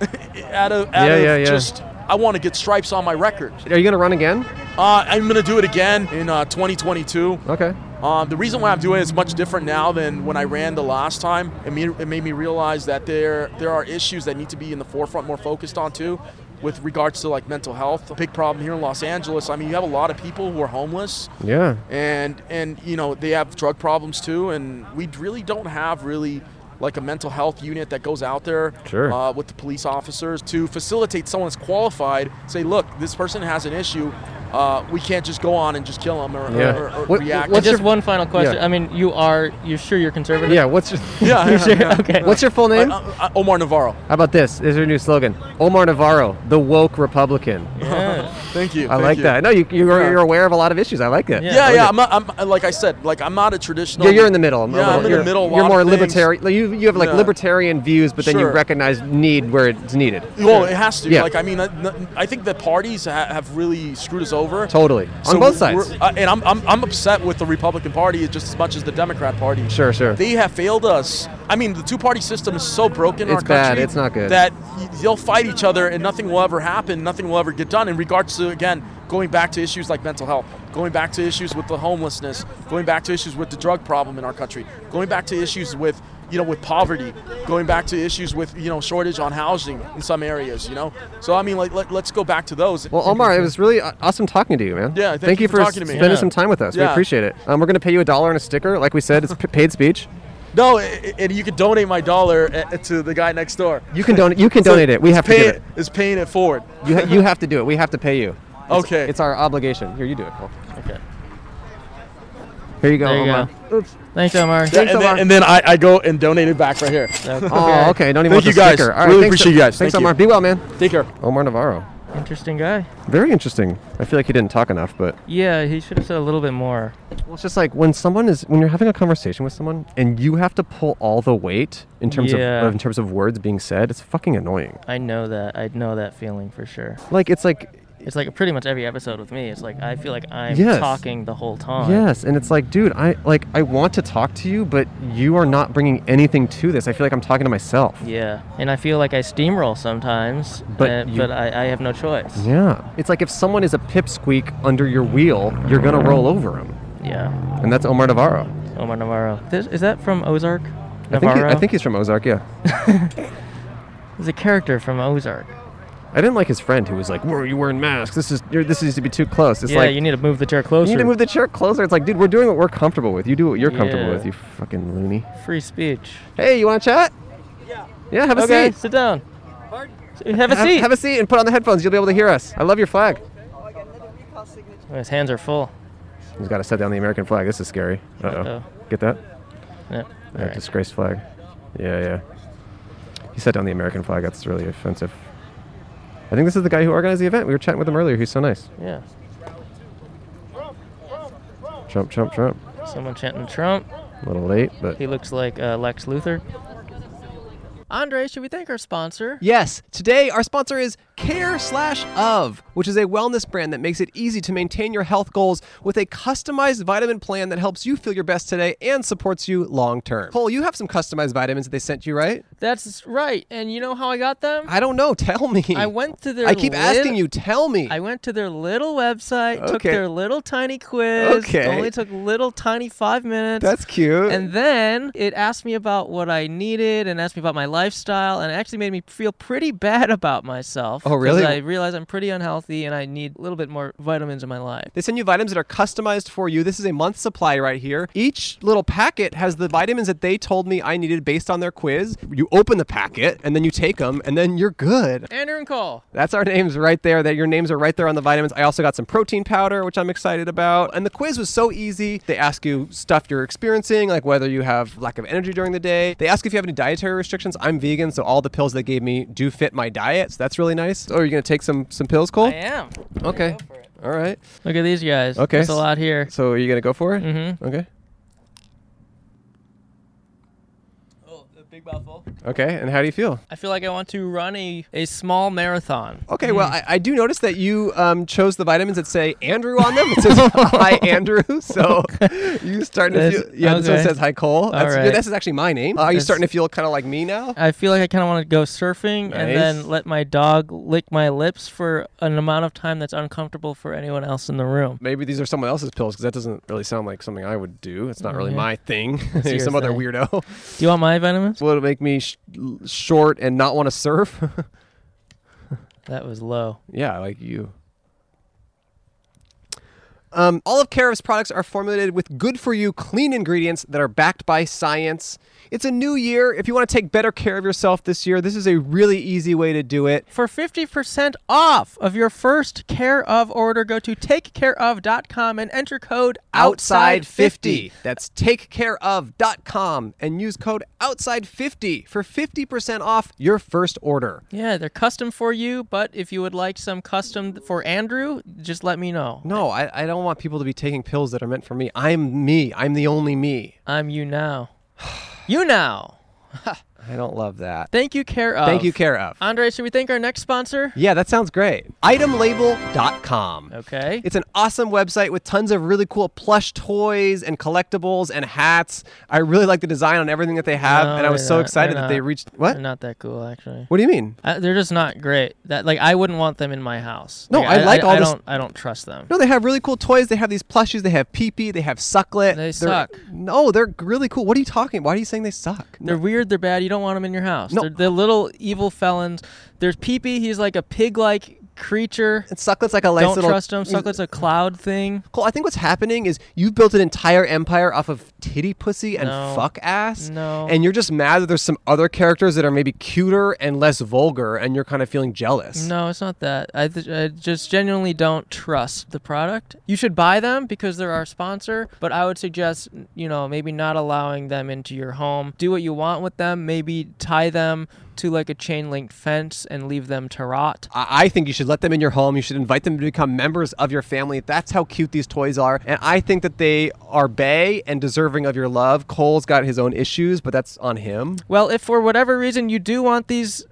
Speaker 5: out of, out
Speaker 2: Yeah,
Speaker 5: of
Speaker 2: yeah, yeah.
Speaker 5: just, I want to get stripes on my record.
Speaker 2: Are you gonna run again?
Speaker 5: Uh, I'm going to do it again in uh, 2022.
Speaker 2: Okay.
Speaker 5: Um, the reason why I'm doing it is much different now than when I ran the last time. It made, it made me realize that there there are issues that need to be in the forefront, more focused on too, with regards to like mental health. A big problem here in Los Angeles. I mean, you have a lot of people who are homeless
Speaker 2: Yeah.
Speaker 5: and and you know they have drug problems too and we really don't have really like a mental health unit that goes out there
Speaker 2: Sure.
Speaker 5: uh, with the police officers to facilitate someone that's qualified say look this person has an issue uh, we can't just go on and just kill them or,
Speaker 2: Yeah.
Speaker 5: or, or
Speaker 2: What-
Speaker 5: react
Speaker 1: And
Speaker 2: what's
Speaker 1: just
Speaker 2: your-
Speaker 1: one final question.
Speaker 2: yeah.
Speaker 1: I mean, you are you sure you're conservative?
Speaker 2: Yeah. What's your
Speaker 5: yeah, Uh, yeah,
Speaker 1: Sure?
Speaker 5: yeah.
Speaker 1: Okay.
Speaker 2: What's your full
Speaker 5: I-
Speaker 2: name?
Speaker 5: I- I- omar navarro
Speaker 2: How about this? This is your new slogan? Omar Navarro, the woke Republican.
Speaker 1: Yeah.
Speaker 5: thank you
Speaker 2: I
Speaker 5: thank
Speaker 2: like
Speaker 5: you.
Speaker 2: that. No, you you're,
Speaker 5: Yeah.
Speaker 2: you're aware of a lot of issues. I like that.
Speaker 1: Yeah.
Speaker 5: yeah,
Speaker 2: I
Speaker 5: yeah.
Speaker 2: like
Speaker 5: I'm, not, I'm like I said, like I'm not a traditional.
Speaker 2: Yeah, you're in the middle.
Speaker 5: Yeah, I'm in
Speaker 2: you're,
Speaker 5: the middle. a lot
Speaker 2: You're
Speaker 5: of
Speaker 2: more
Speaker 5: things.
Speaker 2: libertarian. Like, you, you have like
Speaker 5: Yeah.
Speaker 2: libertarian views, but then you
Speaker 5: Sure.
Speaker 2: recognize need where it's needed.
Speaker 5: Well, it has to.
Speaker 2: Yeah.
Speaker 5: Like I mean, I, I think the parties ha- have really screwed us over.
Speaker 2: Totally. On both sides.
Speaker 5: we're- uh, and I'm, I'm, I'm upset with the Republican Party just as much as the Democrat Party.
Speaker 2: Sure, sure.
Speaker 5: They have failed us. I mean, the two party system is so broken in
Speaker 2: It's
Speaker 5: our
Speaker 2: bad.
Speaker 5: country
Speaker 2: It's not good.
Speaker 5: That y- they'll fight each other and nothing will ever happen. Nothing will ever get done in regards to, again, going back to issues like mental health, going back to issues with the homelessness, going back to issues with the drug problem in our country, going back to issues with you know, with poverty, going back to issues with you know shortage on housing in some areas, you know. So I mean, like let, let's go back to those.
Speaker 2: Well, Omar, it was really uh, awesome talking to you, man.
Speaker 5: Yeah, thank you for
Speaker 2: for
Speaker 5: talking to me.
Speaker 2: spending
Speaker 1: Yeah.
Speaker 2: some time with us. We
Speaker 5: Yeah.
Speaker 2: appreciate it. Um, we're gonna pay you a dollar and a sticker, like we said. It's p- paid speech.
Speaker 5: No, a- a- and you could donate my dollar a- to the guy next door.
Speaker 2: You can donate. You can donate it. We have to
Speaker 5: Pay
Speaker 2: give
Speaker 5: it.
Speaker 2: it.
Speaker 5: Is paying it forward.
Speaker 2: You, ha- you have to do it. We have to pay you. It's-
Speaker 5: Okay.
Speaker 2: It's our obligation. Here, you do it. Cole.
Speaker 1: Okay.
Speaker 2: Here you go,
Speaker 1: There you
Speaker 2: Omar.
Speaker 1: go. Thanks, Omar.
Speaker 2: Thanks,
Speaker 5: and,
Speaker 2: Omar.
Speaker 5: then, and then I, I go and donate it back right here.
Speaker 2: Oh, okay. Don't even want
Speaker 5: Thank you
Speaker 2: the
Speaker 5: guys.
Speaker 2: sticker. All right,
Speaker 5: Really
Speaker 2: thanks,
Speaker 5: appreciate you guys.
Speaker 2: Thanks,
Speaker 5: Thank you.
Speaker 2: Omar. Be well, man.
Speaker 5: Take care.
Speaker 2: Omar Navarro.
Speaker 1: Interesting guy.
Speaker 2: Very interesting. I feel like he didn't talk enough, but
Speaker 1: Yeah, he should have said a little bit more.
Speaker 2: Well, it's just like when someone is when you're having a conversation with someone and you have to pull all the weight in terms
Speaker 1: Yeah.
Speaker 2: of in terms of words being said. It's fucking annoying.
Speaker 1: I know that. I know that feeling for sure.
Speaker 2: Like it's like
Speaker 1: It's like pretty much every episode with me. It's like I feel like I'm
Speaker 2: Yes.
Speaker 1: talking the whole time.
Speaker 2: Yes, and it's like, dude, I like I want to talk to you, but you are not bringing anything to this. I feel like I'm talking to myself.
Speaker 1: Yeah, and I feel like I steamroll sometimes,
Speaker 2: But
Speaker 1: but
Speaker 2: you-
Speaker 1: but I, I have no choice.
Speaker 2: Yeah. It's like if someone is a pipsqueak under your wheel, you're gonna roll over him,
Speaker 1: Yeah,
Speaker 2: and that's Omar Navarro.
Speaker 1: Omar Navarro. This, is that from Ozark?
Speaker 2: I think, he-
Speaker 1: Navarro.
Speaker 2: I think he's from Ozark. Yeah.
Speaker 1: he's a character from Ozark.
Speaker 2: I didn't like his friend who was like, "Where are you wearing masks? This is you're, this needs to be too close." It's
Speaker 1: yeah,
Speaker 2: like
Speaker 1: you need to move the chair closer.
Speaker 2: You need to move the chair closer. It's like, dude, we're doing what we're comfortable with. You do what you're comfortable
Speaker 1: Yeah.
Speaker 2: with, you fucking loony.
Speaker 1: Free speech.
Speaker 2: Hey, you want to chat? Yeah. Yeah, have a
Speaker 1: Okay,
Speaker 2: seat.
Speaker 1: sit down. Have a
Speaker 2: Have-
Speaker 1: seat.
Speaker 2: Have a seat and put on the headphones. You'll be able to hear us. I love your flag.
Speaker 1: His hands are full.
Speaker 2: He's got to set down the American flag. This is scary. Uh oh.
Speaker 1: Uh-oh.
Speaker 2: Get that?
Speaker 1: Yeah.
Speaker 2: That
Speaker 1: all right.
Speaker 2: disgrace flag. Yeah, yeah. He set down the American flag. That's really offensive. I think this is the guy who organized the event. We were chatting with him earlier. He's so nice.
Speaker 1: Yeah.
Speaker 2: Trump, Trump, Trump.
Speaker 1: Someone chanting Trump.
Speaker 2: A little late, but
Speaker 1: He looks like uh, Lex Luthor. Andre, should we thank our sponsor?
Speaker 2: Yes, today our sponsor is Care Slash Of, which is a wellness brand that makes it easy to maintain your health goals with a customized vitamin plan that helps you feel your best today and supports you long term. Cole, you have some customized vitamins that they sent you, right?
Speaker 1: That's right. And you know how I got them?
Speaker 2: I don't know. Tell me.
Speaker 1: I went to their
Speaker 2: I keep
Speaker 1: lit-
Speaker 2: asking you. Tell me.
Speaker 1: I went to their little website, took
Speaker 2: Okay.
Speaker 1: their little tiny quiz.
Speaker 2: Okay.
Speaker 1: Only took little tiny five minutes.
Speaker 2: That's cute.
Speaker 1: and then it asked me about what I needed and asked me about my lifestyle and it actually made me feel pretty bad about myself.
Speaker 2: Oh, really?
Speaker 1: 'cause I realized I'm pretty unhealthy and I need a little bit more vitamins in my life.
Speaker 2: They send you vitamins that are customized for you. This is a month supply right here. Each little packet has the vitamins that they told me I needed based on their quiz. You open the packet and then you take them and then you're good.
Speaker 1: Andrew and Cole.
Speaker 2: That's our names right there. That your names are right there on the vitamins. I also got some protein powder, which I'm excited about. And the quiz was so easy. They ask you stuff you're experiencing, like whether you have lack of energy during the day. They ask if you have any dietary restrictions. I'm vegan, so all the pills they gave me do fit my diet. So that's really nice. Oh, are you gonna take some some pills, Cole?
Speaker 1: I am.
Speaker 2: Okay.
Speaker 1: for it.
Speaker 2: All right.
Speaker 1: Look at these guys.
Speaker 2: Okay,
Speaker 1: There's a
Speaker 2: s-
Speaker 1: lot here.
Speaker 2: So are you gonna go for it?
Speaker 1: Mhm.
Speaker 2: Okay.
Speaker 1: Oh, a big mouthful.
Speaker 2: Okay. And how do you feel?
Speaker 1: I feel like I want to run a, a small marathon.
Speaker 2: Okay, well, I, I do notice that you um, chose the vitamins that say Andrew on them. It says Hi Andrew, so you starting to
Speaker 1: That's-
Speaker 2: feel. Yeah, this one
Speaker 1: okay.
Speaker 2: says Hi Cole. That's,
Speaker 1: right.
Speaker 2: This is actually my name. Uh, are you
Speaker 1: That's-
Speaker 2: starting to feel kind of like me now?
Speaker 1: I feel like I kind of want to go surfing and
Speaker 2: Nice.
Speaker 1: then let my dog lick my lips for an amount of time that's uncomfortable for anyone else in the room.
Speaker 2: Maybe these are someone else's pills because that doesn't really sound like something I would do. It's not really
Speaker 1: yeah.
Speaker 2: my thing. Maybe
Speaker 1: your
Speaker 2: some other
Speaker 1: thing.
Speaker 2: weirdo.
Speaker 1: Do you want my vitamins?
Speaker 2: Will it make me sh- l- short and not want to surf?
Speaker 1: That was low.
Speaker 2: Yeah, like you. Um, all of Care of's products are formulated with good for you, clean ingredients that are backed by science. It's a new year. If you want to take better care of yourself this year, this is a really easy way to do it.
Speaker 1: For 50% off of your first Care of order, go to takecareof.com and enter code
Speaker 2: Outside50. That's takecareof.com and use code Outside50 for 50% off your first order.
Speaker 1: Yeah, they're custom for you, but if you would like some custom for Andrew, just let me know.
Speaker 2: No, I, I don't want people to be taking pills that are meant for me. I'm me. I'm the only me.
Speaker 1: I'm you now. you now.
Speaker 2: I don't love that.
Speaker 1: Thank you, Care of.
Speaker 2: Thank you, Care of.
Speaker 1: Andre, should we thank our next sponsor?
Speaker 2: Yeah, that sounds great. Itemlabel.com.
Speaker 1: Okay.
Speaker 2: It's an awesome website with tons of really cool plush toys and collectibles and hats. I really like the design on everything that they have,
Speaker 1: No,
Speaker 2: and I was
Speaker 1: they're
Speaker 2: so
Speaker 1: not-
Speaker 2: excited
Speaker 1: they're
Speaker 2: that they
Speaker 1: not.
Speaker 2: reached. What?
Speaker 1: They're not that cool, actually.
Speaker 2: What do you mean?
Speaker 1: Uh, they're just not great. That like I wouldn't want them in my house.
Speaker 2: No, I like all
Speaker 1: I
Speaker 2: this-
Speaker 1: Don't, I don't trust them.
Speaker 2: No, they have really cool toys. They have these plushies. They have pee-pee. They have sucklet.
Speaker 1: They
Speaker 2: They're-
Speaker 1: suck.
Speaker 2: No, they're really cool. What are you talking? Why are you saying they suck?
Speaker 1: They're weird. They're bad. You don't want them in your house.
Speaker 2: No.
Speaker 1: They're, they're little evil felons. There's Peepee. He's like a pig-like creature.
Speaker 2: And sucklet's like a nice
Speaker 1: don't
Speaker 2: little.
Speaker 1: trust him. Sucklet's a cloud thing.
Speaker 2: Cool. I think what's happening is you've built an entire empire off of titty pussy and
Speaker 1: No.
Speaker 2: fuck ass.
Speaker 1: No.
Speaker 2: And you're just mad that there's some other characters that are maybe cuter and less vulgar, and you're kind of feeling jealous.
Speaker 1: No, it's not that. I, th- I just genuinely don't trust the product. You should buy them because they're our sponsor, but I would suggest, you know, maybe not allowing them into your home. Do what you want with them. Maybe tie them to like a chain link fence and leave them to rot.
Speaker 2: I I think you should let them in your home. You should invite them to become members of your family. That's how cute these toys are. And I think that they are bay and deserving of your love. Cole's got his own issues, but that's on him.
Speaker 1: Well, if for whatever reason you do want these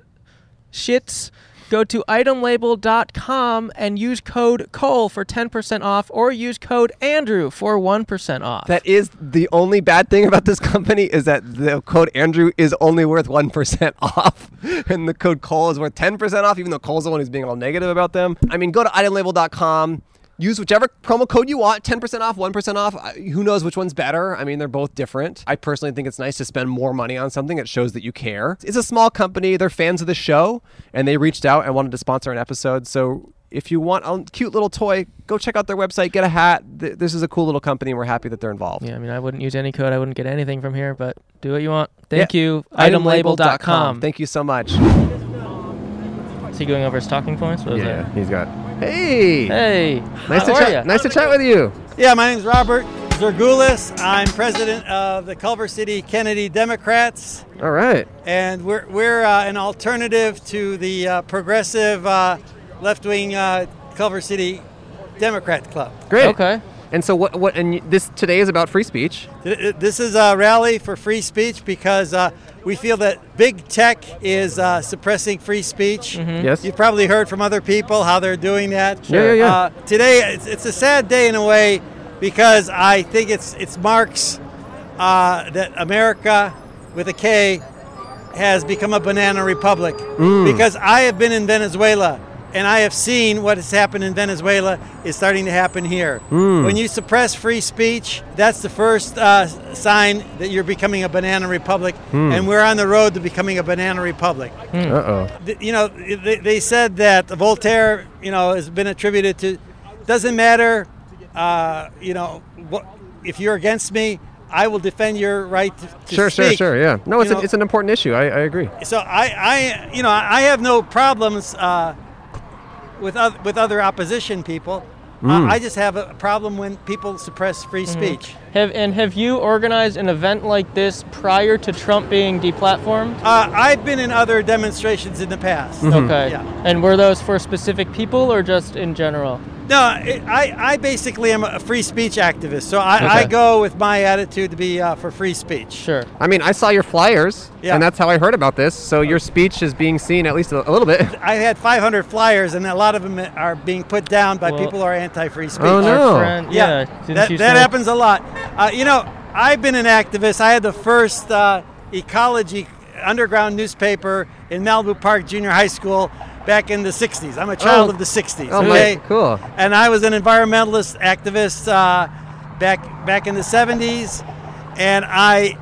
Speaker 1: shits, Go to itemlabel.com and use code Cole for 10% off or use code Andrew for 1% off.
Speaker 2: That is the only bad thing about this company is that the code Andrew is only worth 1% off and the code Cole is worth 10% off, even though Cole's the one who's being all negative about them. I mean, go to itemlabel.com. Use whichever promo code you want, 10% off, 1% off. I- Who knows which one's better? I mean, they're both different. I personally think it's nice to spend more money on something. It shows that you care. It's a small company. They're fans of the show, and they reached out and wanted to sponsor an episode. So if you want a cute little toy, go check out their website, get a hat. Th- This is a cool little company. and We're happy that they're involved.
Speaker 1: yeah, I mean, I wouldn't use any code. I wouldn't get anything from here, but do what you want. Thank
Speaker 2: Yeah.
Speaker 1: you. Itemlabel.com.
Speaker 2: Thank you so much.
Speaker 1: Is he going over his talking points? What was that?
Speaker 2: he's got. Hey,
Speaker 1: Hey.
Speaker 2: nice to
Speaker 1: how are ya?
Speaker 2: chat. Nice to chat with you.
Speaker 6: Yeah, my name's Robert Zergulis. I'm president of the Culver City Kennedy Democrats,
Speaker 2: All right.
Speaker 6: and we're, we're uh, an alternative to the uh, progressive uh, left wing uh, Culver City Democrat Club.
Speaker 2: Great.
Speaker 1: Okay.
Speaker 2: And so what? What? And y- this today is about free speech.
Speaker 6: Th- th- This is a rally for free speech because uh, we feel that big tech is uh, suppressing free speech.
Speaker 1: Hmm?
Speaker 2: Yes.
Speaker 6: You've probably heard from other people how they're doing that.
Speaker 2: Yeah, yeah, yeah.
Speaker 6: Uh, today, it's, it's a sad day in a way because I think it's it's marks uh, that America with a K has become a banana republic
Speaker 2: Mm.
Speaker 6: because I have been in Venezuela and I have seen what has happened in Venezuela is starting to happen here.
Speaker 2: Mm.
Speaker 6: When you suppress free speech, that's the first uh, sign that you're becoming a banana republic,
Speaker 2: Mm.
Speaker 6: and we're on the road to becoming a banana republic
Speaker 2: Uh oh.
Speaker 6: th- you know, they, they said that Voltaire, you know, has been attributed to. Doesn't matter, uh, you know, what if you're against me, I will defend your right to, to
Speaker 2: Sure, sure,
Speaker 6: speak.
Speaker 2: sure. Yeah. No, it's
Speaker 6: You
Speaker 2: an,
Speaker 6: know-
Speaker 2: it's an important issue. I, I agree.
Speaker 6: So I, I, you know, I have no problems uh, with oth- with other opposition people. Uh,
Speaker 2: Hmm.
Speaker 6: I just have a problem when people suppress free
Speaker 1: Mm-hmm.
Speaker 6: speech.
Speaker 1: Have and have you organized an event like this prior to Trump being deplatformed?
Speaker 6: Uh, I've been in other demonstrations in the past.
Speaker 2: Mm-hmm.
Speaker 1: Okay.
Speaker 6: Yeah.
Speaker 1: And were those for specific people or just in general?
Speaker 6: No, it, I, I basically am a free speech activist, so I, I
Speaker 1: Okay.
Speaker 6: go with my attitude to be uh, for free speech.
Speaker 1: Sure.
Speaker 2: I mean, I saw your flyers,
Speaker 6: Yeah.
Speaker 2: and that's how I heard about this. So your speech is being seen at least a, a little bit.
Speaker 6: I had 500 flyers, and a lot of them are being put down by
Speaker 1: Well-
Speaker 6: people who are anti-free speech.
Speaker 2: Oh, no.
Speaker 1: Our friend, yeah. didn't
Speaker 6: that,
Speaker 1: you
Speaker 6: that
Speaker 1: say-
Speaker 6: happens a lot. Uh, you know, I've been an activist. I had the first uh, ecology underground newspaper in Malibu Park Junior High School back in the 60s. I'm a child
Speaker 2: Oh.
Speaker 6: of the 60s.
Speaker 2: Oh
Speaker 6: okay?
Speaker 2: my, cool.
Speaker 6: and I was an environmentalist activist uh, back back in the 70s, and I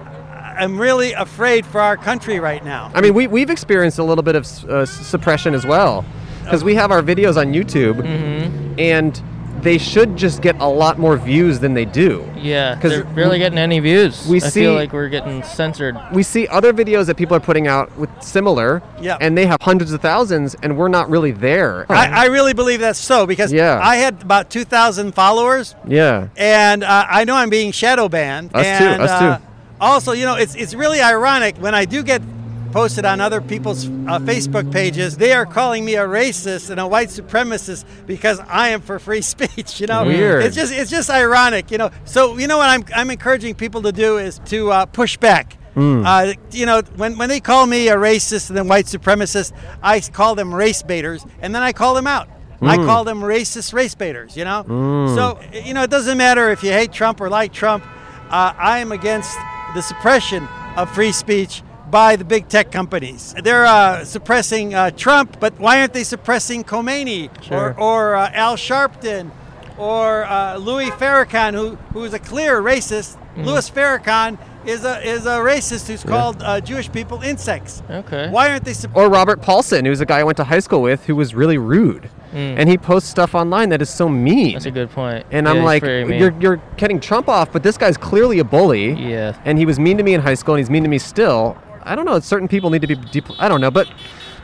Speaker 6: am really afraid for our country right now.
Speaker 2: I mean, we, we've experienced a little bit of s- uh, s- suppression as well because we have our videos on YouTube
Speaker 1: Mm-hmm.
Speaker 2: and they should just get a lot more views than they do.
Speaker 1: Yeah,
Speaker 2: 'Cause
Speaker 1: they're barely getting any views.
Speaker 2: we
Speaker 1: I
Speaker 2: see-
Speaker 1: feel like we're getting censored.
Speaker 2: We see other videos that people are putting out with similar
Speaker 6: Yeah.
Speaker 2: and they have hundreds of thousands and we're not really there.
Speaker 6: I, I really believe that's so because
Speaker 2: Yeah.
Speaker 6: I had about 2,000 followers,
Speaker 2: yeah.
Speaker 6: and uh, I know I'm being shadow banned.
Speaker 2: Us too,
Speaker 6: and,
Speaker 2: us
Speaker 6: uh,
Speaker 2: too.
Speaker 6: Also, you know, it's it's really ironic when I do get posted on other people's uh, Facebook pages. They are calling me a racist and a white supremacist because I am for free speech. You know,
Speaker 2: Weird.
Speaker 6: It's just it's just ironic. You know, so you know what I'm I'm encouraging people to do is to uh, push back. Uh, you know, when, when they call me a racist and a white supremacist, I call them race baiters, and then I call them out. I call them racist race baiters, you know? So, you know, it doesn't matter if you hate Trump or like Trump. Uh, I am against the suppression of free speech by the big tech companies. They're uh, suppressing uh, Trump, but why aren't they suppressing Khomeini
Speaker 1: Sure.
Speaker 6: or, or uh, Al Sharpton or uh, Louis Farrakhan, who, who is a clear racist?
Speaker 1: Mm-hmm.
Speaker 6: Louis Farrakhan is a, is a racist who's called uh, Jewish people insects.
Speaker 1: Okay.
Speaker 6: Why aren't they suppressing?
Speaker 2: Or Robert Paulson, who's a guy I went to high school with who was really rude. And he posts stuff online that is so mean.
Speaker 1: Mm. That's a good point.
Speaker 2: And
Speaker 1: Yeah,
Speaker 2: I'm
Speaker 1: he's
Speaker 2: like,
Speaker 1: very mean.
Speaker 2: you're, you're getting Trump off, but this guy's clearly a bully.
Speaker 1: Yeah.
Speaker 2: And he was mean to me in high school, and he's mean to me still. I don't know. Certain people need to be deep. I don't know, but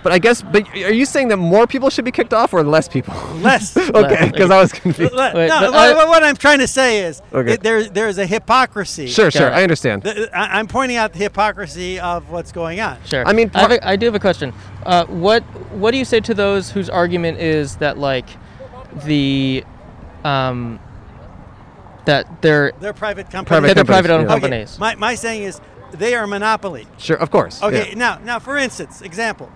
Speaker 2: but I guess. But are you saying that more people should be kicked off or less people?
Speaker 6: Less.
Speaker 2: okay, because I was confused.
Speaker 6: Le-
Speaker 1: Wait,
Speaker 6: no,
Speaker 1: but
Speaker 6: what,
Speaker 1: I-
Speaker 6: what I'm trying to say is
Speaker 2: Okay.
Speaker 6: it, there, there's a hypocrisy.
Speaker 2: Sure, sure.
Speaker 1: it.
Speaker 2: I understand.
Speaker 6: The- I- I'm pointing out the hypocrisy of what's going on.
Speaker 1: Sure.
Speaker 2: I mean,
Speaker 1: I, have
Speaker 2: part-
Speaker 1: a, I do have a question. Uh, what What do you say to those whose argument is that like the um that they're
Speaker 6: They're private companies.
Speaker 2: Private
Speaker 1: that they're
Speaker 2: companies,
Speaker 1: private owned
Speaker 2: yeah.
Speaker 6: Okay,
Speaker 1: companies?
Speaker 6: My, my saying is they are a monopoly.
Speaker 2: Sure, of course.
Speaker 6: Okay,
Speaker 2: yeah.
Speaker 6: now now for instance, example,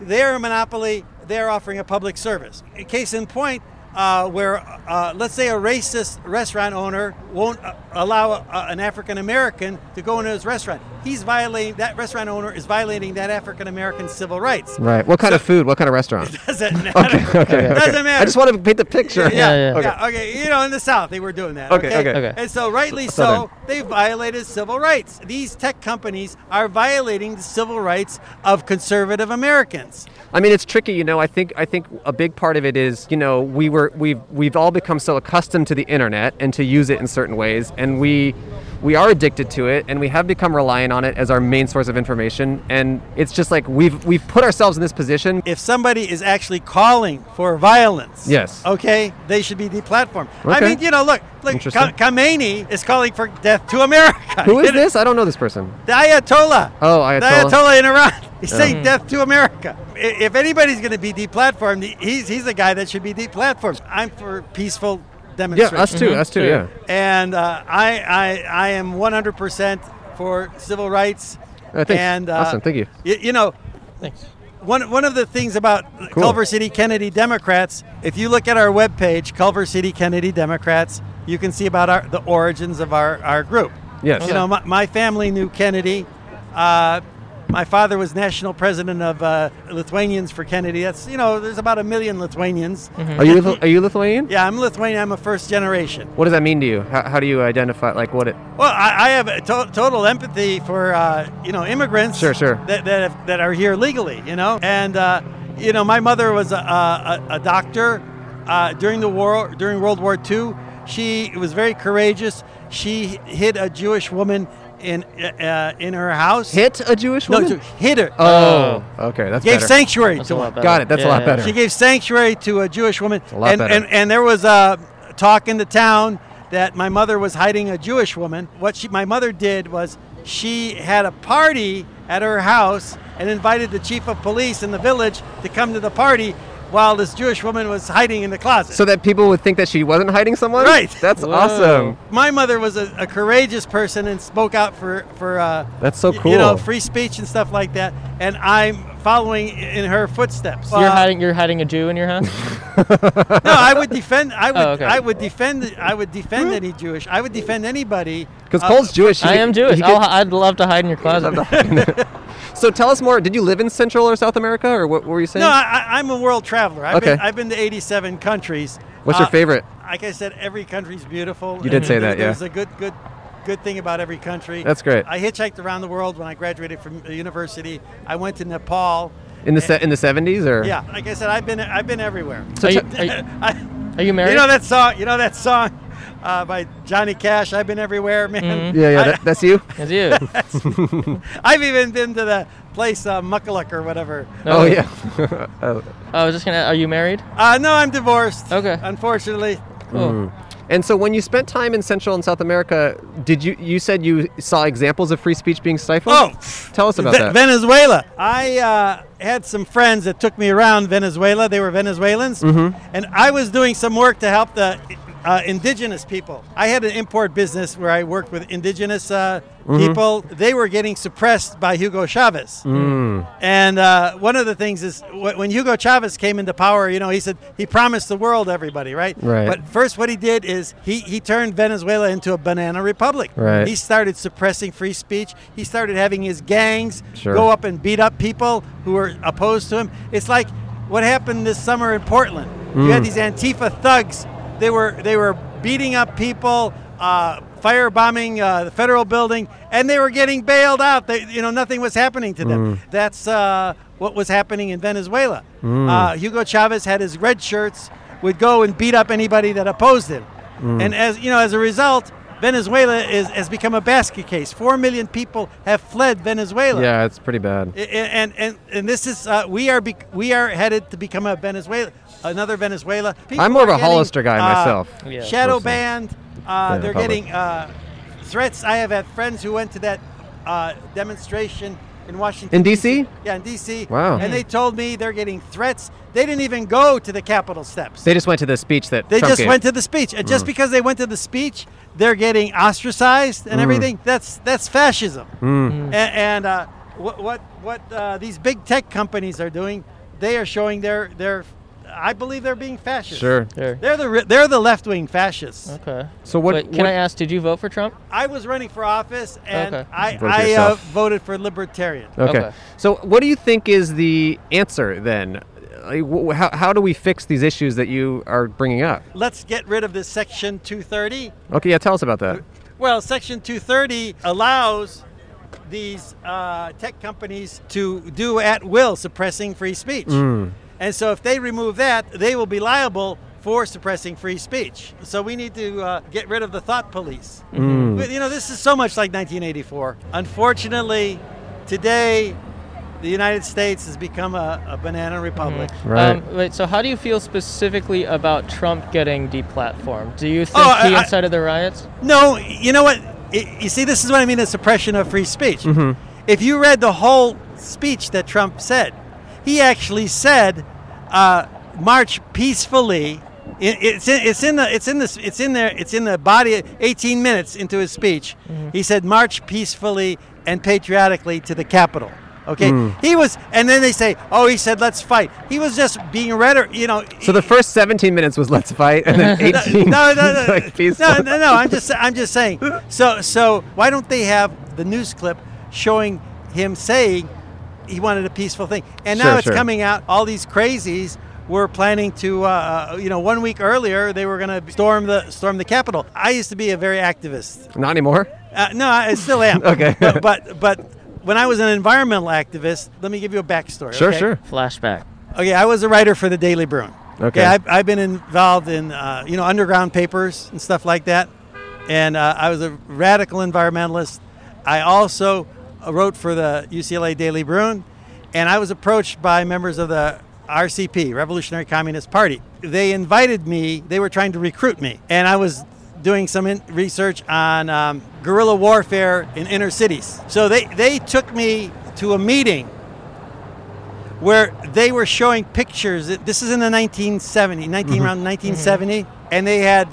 Speaker 6: they are a monopoly. they're offering a public service. A Case in point, uh, where uh, let's say a racist restaurant owner won't uh, allow uh an African American to go into his restaurant, he's violating that restaurant owner is violating that African American civil rights.
Speaker 2: Right. What kind of food? What kind of restaurant?
Speaker 6: Doesn't matter. Doesn't matter.
Speaker 2: I just want to paint the picture.
Speaker 6: Yeah,
Speaker 1: Yeah,
Speaker 6: yeah,
Speaker 1: yeah.
Speaker 6: okay. You know, in the South, they were doing that.
Speaker 2: Okay,
Speaker 6: Okay,
Speaker 2: okay.
Speaker 1: Okay.
Speaker 6: And so, rightly
Speaker 2: S- Southern.
Speaker 6: so, they violated civil rights. These tech companies are violating the civil rights of conservative Americans.
Speaker 2: I mean, it's tricky, you know. I think I think a big part of it is, you know, we were we've we've all become so accustomed to the internet and to use it in certain ways, and we we are addicted to it, and we have become reliant on it as our main source of information. And it's just like we've we've put ourselves in this position.
Speaker 6: If somebody is actually calling for violence,
Speaker 2: Yes.
Speaker 6: okay, they should be deplatformed. I
Speaker 2: Okay.
Speaker 6: mean, you know, look, look,
Speaker 2: Interesting.
Speaker 6: Khamenei is calling for death to America.
Speaker 2: Who is this? I don't know this person.
Speaker 6: The Ayatollah.
Speaker 2: Oh,
Speaker 6: The
Speaker 2: Ayatollah.
Speaker 6: Ayatollah in Iran. He's saying death to America. I- If anybody's going to be deplatformed, he- he's he's the guy that should be deplatformed. I'm for peaceful
Speaker 2: Yeah,
Speaker 6: demonstrations.
Speaker 2: us too. us too.
Speaker 1: sure.
Speaker 2: Yeah.
Speaker 6: And uh, I, I I am 100% for civil rights.
Speaker 2: Uh, thanks.
Speaker 6: And, uh,
Speaker 2: Awesome, thank you.
Speaker 6: y- you know,
Speaker 1: Thanks.
Speaker 6: one, one of the things about
Speaker 2: Cool.
Speaker 6: Culver City Kennedy Democrats, if you look at our webpage, Culver City Kennedy Democrats, you can see about our, the origins of our, our group.
Speaker 2: Yes.
Speaker 6: You know, my, my family knew Kennedy. Uh, my father was national president of uh, Lithuanians for Kennedy. That's, you know, there's about a million Lithuanians.
Speaker 2: Are you Lithu- are you Lithuanian?
Speaker 6: Yeah, I'm Lithuanian. I'm a first generation.
Speaker 2: What does that mean to you? How, how do you identify? Like what it?
Speaker 6: Well, I, I have a to- total empathy for uh, you know immigrants.
Speaker 2: Sure, sure.
Speaker 6: That that, have, that are here legally, you know, and uh, you know my mother was a, a, a doctor uh, during the war during World War II. She was very courageous. She hid a Jewish woman in uh, in her house.
Speaker 2: Hit a Jewish
Speaker 6: No,
Speaker 2: woman?
Speaker 6: to- hid her.
Speaker 2: oh, okay, that's
Speaker 6: gave
Speaker 2: better.
Speaker 6: sanctuary to her.
Speaker 2: Got it, that's a lot better.
Speaker 6: She gave sanctuary to a Jewish woman.
Speaker 2: a lot
Speaker 6: and,
Speaker 2: better.
Speaker 6: and and there was a talk in the town that my mother was hiding a Jewish woman. What she my mother did was she had a party at her house and invited the chief of police in the village to come to the party while this Jewish woman was hiding in the closet.
Speaker 2: So that people would think that she wasn't hiding someone.
Speaker 6: Right.
Speaker 2: That's
Speaker 1: Whoa.
Speaker 2: awesome.
Speaker 6: my mother was a, a courageous person and spoke out for for uh,
Speaker 2: That's so
Speaker 6: y- You know,
Speaker 2: cool.
Speaker 6: free speech and stuff like that. And I'm following in her footsteps.
Speaker 1: you're
Speaker 6: Uh,
Speaker 1: hiding. You're hiding a Jew in your house.
Speaker 6: no, I would defend. I would.
Speaker 1: Oh, okay.
Speaker 6: I would defend. I would defend any Jewish. I would defend anybody.
Speaker 2: Because
Speaker 6: uh,
Speaker 2: Cole's Jewish. he
Speaker 1: I
Speaker 2: could-
Speaker 1: am
Speaker 2: he
Speaker 1: Jewish.
Speaker 2: could-
Speaker 1: I'll, hi- I'd love to hide in your closet.
Speaker 2: so tell us more. Did you live in Central or South America, or what, were you saying?
Speaker 6: No, I, I- I'm a world traveler. I've, been,
Speaker 2: Okay.
Speaker 6: I've been to 87 countries. Uh,
Speaker 2: What's your favorite?
Speaker 6: Like I said, every country's beautiful.
Speaker 2: You did
Speaker 6: and
Speaker 2: say that, yeah.
Speaker 6: There's a good, good, good thing about every country.
Speaker 2: That's great.
Speaker 6: I hitchhiked around the world when I graduated from university. I went to Nepal.
Speaker 2: in the se- in the seventies, or
Speaker 6: Yeah, like I said, I've been, I've been everywhere.
Speaker 2: So
Speaker 1: are, you,
Speaker 2: t-
Speaker 1: are, you,
Speaker 6: I,
Speaker 1: are you married?
Speaker 6: You know that song? You know that song uh, by Johnny Cash? I've been everywhere,
Speaker 1: Mm-hmm.
Speaker 6: man.
Speaker 2: yeah, yeah.
Speaker 6: I-
Speaker 2: That, that's you.
Speaker 1: It's you.
Speaker 6: I've even been to the place uh, Muckaluck or whatever.
Speaker 2: Oh yeah. Oh.
Speaker 1: I was just gonna. Are you married?
Speaker 6: Uh, no, I'm divorced.
Speaker 1: Okay.
Speaker 6: Unfortunately,
Speaker 1: Cool.
Speaker 2: Mm. And so when you spent time in Central and South America, did you you said you saw examples of free speech being stifled?
Speaker 6: Oh,
Speaker 2: tell us about
Speaker 6: Ve-
Speaker 2: that.
Speaker 6: Venezuela. I uh, had some friends that took me around Venezuela. They were Venezuelans,
Speaker 2: Mm-hmm.
Speaker 6: and I was doing some work to help the uh, indigenous people. I had an import business where I worked with indigenous uh,
Speaker 2: Mm-hmm.
Speaker 6: people. They were getting suppressed by Hugo Chavez. And uh, one of the things is wh- when Hugo Chavez came into power, you know, he said he promised the world everybody, right?
Speaker 2: Right.
Speaker 6: But first, what he did is he, he turned Venezuela into a banana republic.
Speaker 2: Right.
Speaker 6: He started suppressing free speech. He started having his gangs
Speaker 2: Sure.
Speaker 6: go up and beat up people who were opposed to him. It's like what happened this summer in Portland. You had these Antifa thugs. They were they were beating up people, uh, firebombing uh, the federal building, and they were getting bailed out. They, you know, nothing was happening to them. That's uh, what was happening in Venezuela. Uh, Hugo Chavez had his red shirts would go and beat up anybody that opposed him, and as you know, as a result. Venezuela is, has become a basket case. Four million people have fled Venezuela.
Speaker 2: yeah, it's pretty bad.
Speaker 6: A- a- and and and this is uh, we are bec we are headed to become a Venezuela, another Venezuela. People
Speaker 2: I'm more of
Speaker 6: are uh,
Speaker 2: a Hollister guy myself.
Speaker 1: Yeah.
Speaker 6: Shadow
Speaker 2: Personally.
Speaker 6: banned. Uh, they're
Speaker 2: public.
Speaker 6: getting uh, threats. I have had friends who went to that uh, demonstration in Washington.
Speaker 2: In DC?
Speaker 6: Yeah, in DC.
Speaker 2: Wow.
Speaker 6: And they told me they're getting threats. They didn't even go to the Capitol steps.
Speaker 2: They just went to the speech that
Speaker 6: They
Speaker 2: Trump Mm.
Speaker 6: just
Speaker 2: gave.
Speaker 6: went to the speech. And just because they went to the speech, they're getting ostracized
Speaker 2: Mm.
Speaker 6: and everything. That's that's fascism. And, and uh, what what what uh, these big tech companies are doing, they are showing their their. I believe they're being fascist.
Speaker 2: Sure.
Speaker 1: Sure.
Speaker 6: They're the ri- they're the left wing fascists.
Speaker 1: Okay.
Speaker 2: So what?
Speaker 1: Wait, can
Speaker 2: what-
Speaker 1: I ask? Did you vote for Trump?
Speaker 6: I was running for office and
Speaker 1: Okay.
Speaker 6: I,
Speaker 2: Vote for
Speaker 6: I uh,
Speaker 2: yourself. Oh.
Speaker 6: voted for libertarian.
Speaker 2: Okay.
Speaker 1: Okay.
Speaker 2: So, what do you think is the answer then? Like, wh- How, how do we fix these issues that you are bringing up?
Speaker 6: Let's get rid of this Section 230.
Speaker 2: Okay, yeah, tell us about that.
Speaker 6: Well, Section 230 allows these uh, tech companies to do at will suppressing free speech. And so if they remove that, they will be liable for suppressing free speech. So we need to uh, get rid of the thought police. But, you know, this is so much like 1984. Unfortunately, today, the United States has become a, a banana republic.
Speaker 2: Right.
Speaker 1: Um, wait. So, how do you feel specifically about Trump getting deplatformed? Do you think
Speaker 6: Oh, I-
Speaker 1: he
Speaker 6: I-
Speaker 1: incited the riots?
Speaker 6: No, you know what? I- You see, this is what I mean the suppression of free speech.
Speaker 2: Mm-hmm.
Speaker 6: If you read the whole speech that Trump said, he actually said, uh, "March peacefully." I- It's in, it's in the it's in the it's in there it's in the body. 18 minutes into his speech,
Speaker 2: Mm-hmm.
Speaker 6: he said, "March peacefully and patriotically to the Capitol." Okay,
Speaker 2: Mm.
Speaker 6: he was, and then they say, "Oh, he said let's fight." He was just being rhetoric, you know.
Speaker 2: So the first 17 minutes was let's fight, and then 18
Speaker 6: No, no, no,
Speaker 2: like peaceful.
Speaker 6: no, no, no. I'm just, I'm just saying. So, so why don't they have the news clip showing him saying he wanted a peaceful thing, and now
Speaker 2: Sure,
Speaker 6: it's
Speaker 2: sure.
Speaker 6: coming out. All these crazies were planning to, uh, you know, one week earlier they were going to storm the storm the Capitol. I used to be a very activist.
Speaker 2: Not anymore.
Speaker 6: Uh, no, I still am.
Speaker 2: Okay.
Speaker 6: but, but but when I was an environmental activist, let me give you a backstory.
Speaker 2: Sure,
Speaker 6: okay?
Speaker 2: sure.
Speaker 1: Flashback.
Speaker 6: Okay, I was a writer for the Daily Bruin.
Speaker 2: Okay.
Speaker 6: I've, I've been involved in uh, you know underground papers and stuff like that, and uh, I was a radical environmentalist. I also wrote for the UCLA Daily Bruin, and I was approached by members of the RCP, Revolutionary Communist Party. They invited me. They were trying to recruit me, and I was doing some in- research on um, guerrilla warfare in inner cities. So they, they took me to a meeting where they were showing pictures. This is in the 1970, 19
Speaker 2: Mm-hmm.
Speaker 6: around 1970, and they had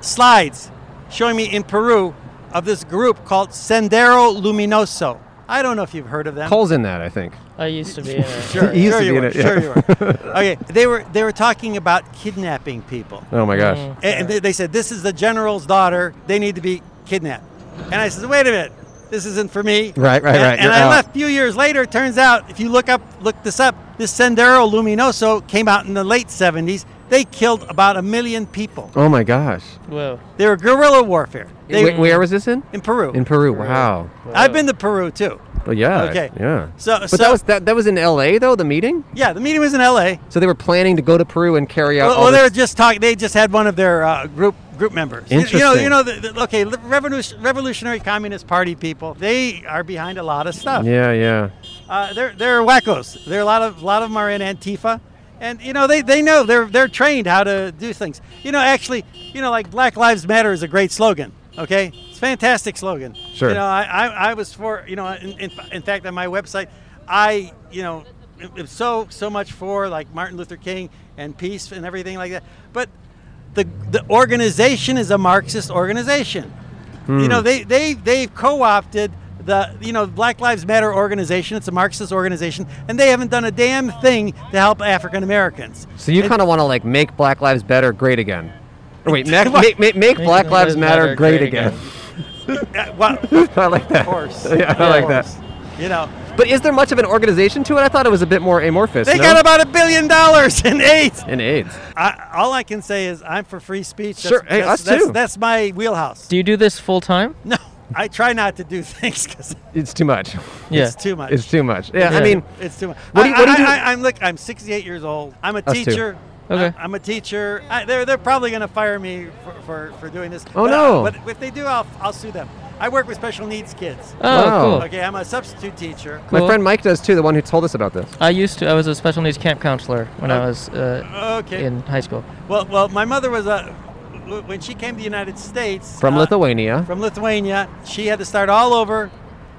Speaker 6: slides showing me in Peru of this group called Sendero Luminoso. I don't know if you've heard of them.
Speaker 2: Cole's in that, I think.
Speaker 1: I used to be. In a,
Speaker 6: Sure,
Speaker 2: He used
Speaker 6: sure
Speaker 2: to
Speaker 6: you
Speaker 2: be in
Speaker 6: were.
Speaker 2: it, yeah.
Speaker 6: Sure you were. Okay, they were they were talking about kidnapping people.
Speaker 2: Oh my gosh.
Speaker 1: Mm.
Speaker 6: And they, they said, This is the general's daughter. They need to be kidnapped. And I said, Wait a minute. This isn't for me.
Speaker 2: Right, right,
Speaker 6: And-
Speaker 2: right.
Speaker 6: And
Speaker 2: You're
Speaker 6: I
Speaker 2: out.
Speaker 6: left a few years later. It turns out, if you look up, look this up, this Sendero Luminoso came out in the late 70s. They killed about a million people.
Speaker 2: Oh my gosh.
Speaker 1: whoa.
Speaker 6: They were guerrilla warfare. They
Speaker 2: Wait, where was this in?
Speaker 6: in Peru.
Speaker 2: In Peru. Wow.
Speaker 6: I've been to Peru too.
Speaker 2: Well, yeah.
Speaker 6: Okay.
Speaker 2: Yeah.
Speaker 6: So,
Speaker 2: But
Speaker 6: so
Speaker 2: that was that, that was in L.A. though the meeting.
Speaker 6: yeah, the meeting was in L.A.
Speaker 2: So they were planning to go to Peru and carry out.
Speaker 6: Well,
Speaker 2: all
Speaker 6: well, they
Speaker 2: this-
Speaker 6: were just talking. They just had one of their uh, group group members. You- You know,
Speaker 2: Interesting.
Speaker 6: you know. The, the, okay, the Revolution, Revolutionary Communist Party people. They are behind a lot of stuff.
Speaker 2: Yeah, yeah.
Speaker 6: Uh, they're they're wackos. There are a lot of a lot of them are in Antifa, and you know they, they know they're they're trained how to do things. You know, actually, you know, like Black Lives Matter is a great slogan. Okay, it's a fantastic slogan.
Speaker 2: Sure.
Speaker 6: You know, I, I, I was for you know in, in, in fact on my website, I you know am- am so so much for like Martin Luther King and peace and everything like that, but the the organization is a Marxist organization. You
Speaker 2: Hmm.
Speaker 6: know, they they they've co-opted the you know Black Lives Matter organization. It's a Marxist organization, and they haven't done a damn thing to help African Americans.
Speaker 2: So you
Speaker 6: And-
Speaker 2: kind of want to like make Black Lives Better great again. Or wait, make,
Speaker 6: What?
Speaker 2: make, make, make Black
Speaker 1: Lives
Speaker 2: Lives Matter,
Speaker 1: Matter
Speaker 2: great,
Speaker 1: great
Speaker 2: again.
Speaker 6: Uh, well,
Speaker 2: I like that.
Speaker 6: of course.
Speaker 2: Yeah, I like that.
Speaker 6: You know,
Speaker 2: But is there much of an organization to it? I thought it was a bit more amorphous.
Speaker 6: they
Speaker 2: no?
Speaker 6: got about a billion dollars in AIDS.
Speaker 2: in AIDS.
Speaker 6: I, all I can say is I'm for free speech. That's,
Speaker 2: Sure. Hey, us
Speaker 6: that's, that's,
Speaker 2: too.
Speaker 6: That's my wheelhouse.
Speaker 1: Do you do this full time?
Speaker 6: no, I try not to do things because
Speaker 2: It's too much.
Speaker 1: Yeah.
Speaker 6: it's too much.
Speaker 2: It's too much. Yeah, I
Speaker 1: Yeah.
Speaker 2: mean,
Speaker 6: It's too much.
Speaker 2: What do you- what do you do-
Speaker 6: I, I, am look. I'm 68 years old. I'm a
Speaker 2: Us too.
Speaker 6: teacher.
Speaker 1: Okay.
Speaker 6: I, am a teacher. I, they're they're probably gonna fire me for, for, for doing this.
Speaker 2: Oh,
Speaker 6: But I-
Speaker 2: no.
Speaker 6: but if they do, I'll I'll sue them. I work with special needs kids.
Speaker 1: Oh,
Speaker 2: Wow.
Speaker 1: cool.
Speaker 6: Okay, I'm a substitute teacher.
Speaker 2: my
Speaker 1: Cool.
Speaker 2: friend Mike does too, the one who told us about this.
Speaker 1: I used to. I was a special needs camp counselor when I was uh,
Speaker 6: Okay.
Speaker 1: in high school.
Speaker 6: well, well, my mother was a w- when she came to the United States
Speaker 2: From
Speaker 6: uh,
Speaker 2: Lithuania.
Speaker 6: From Lithuania, she had to start all over,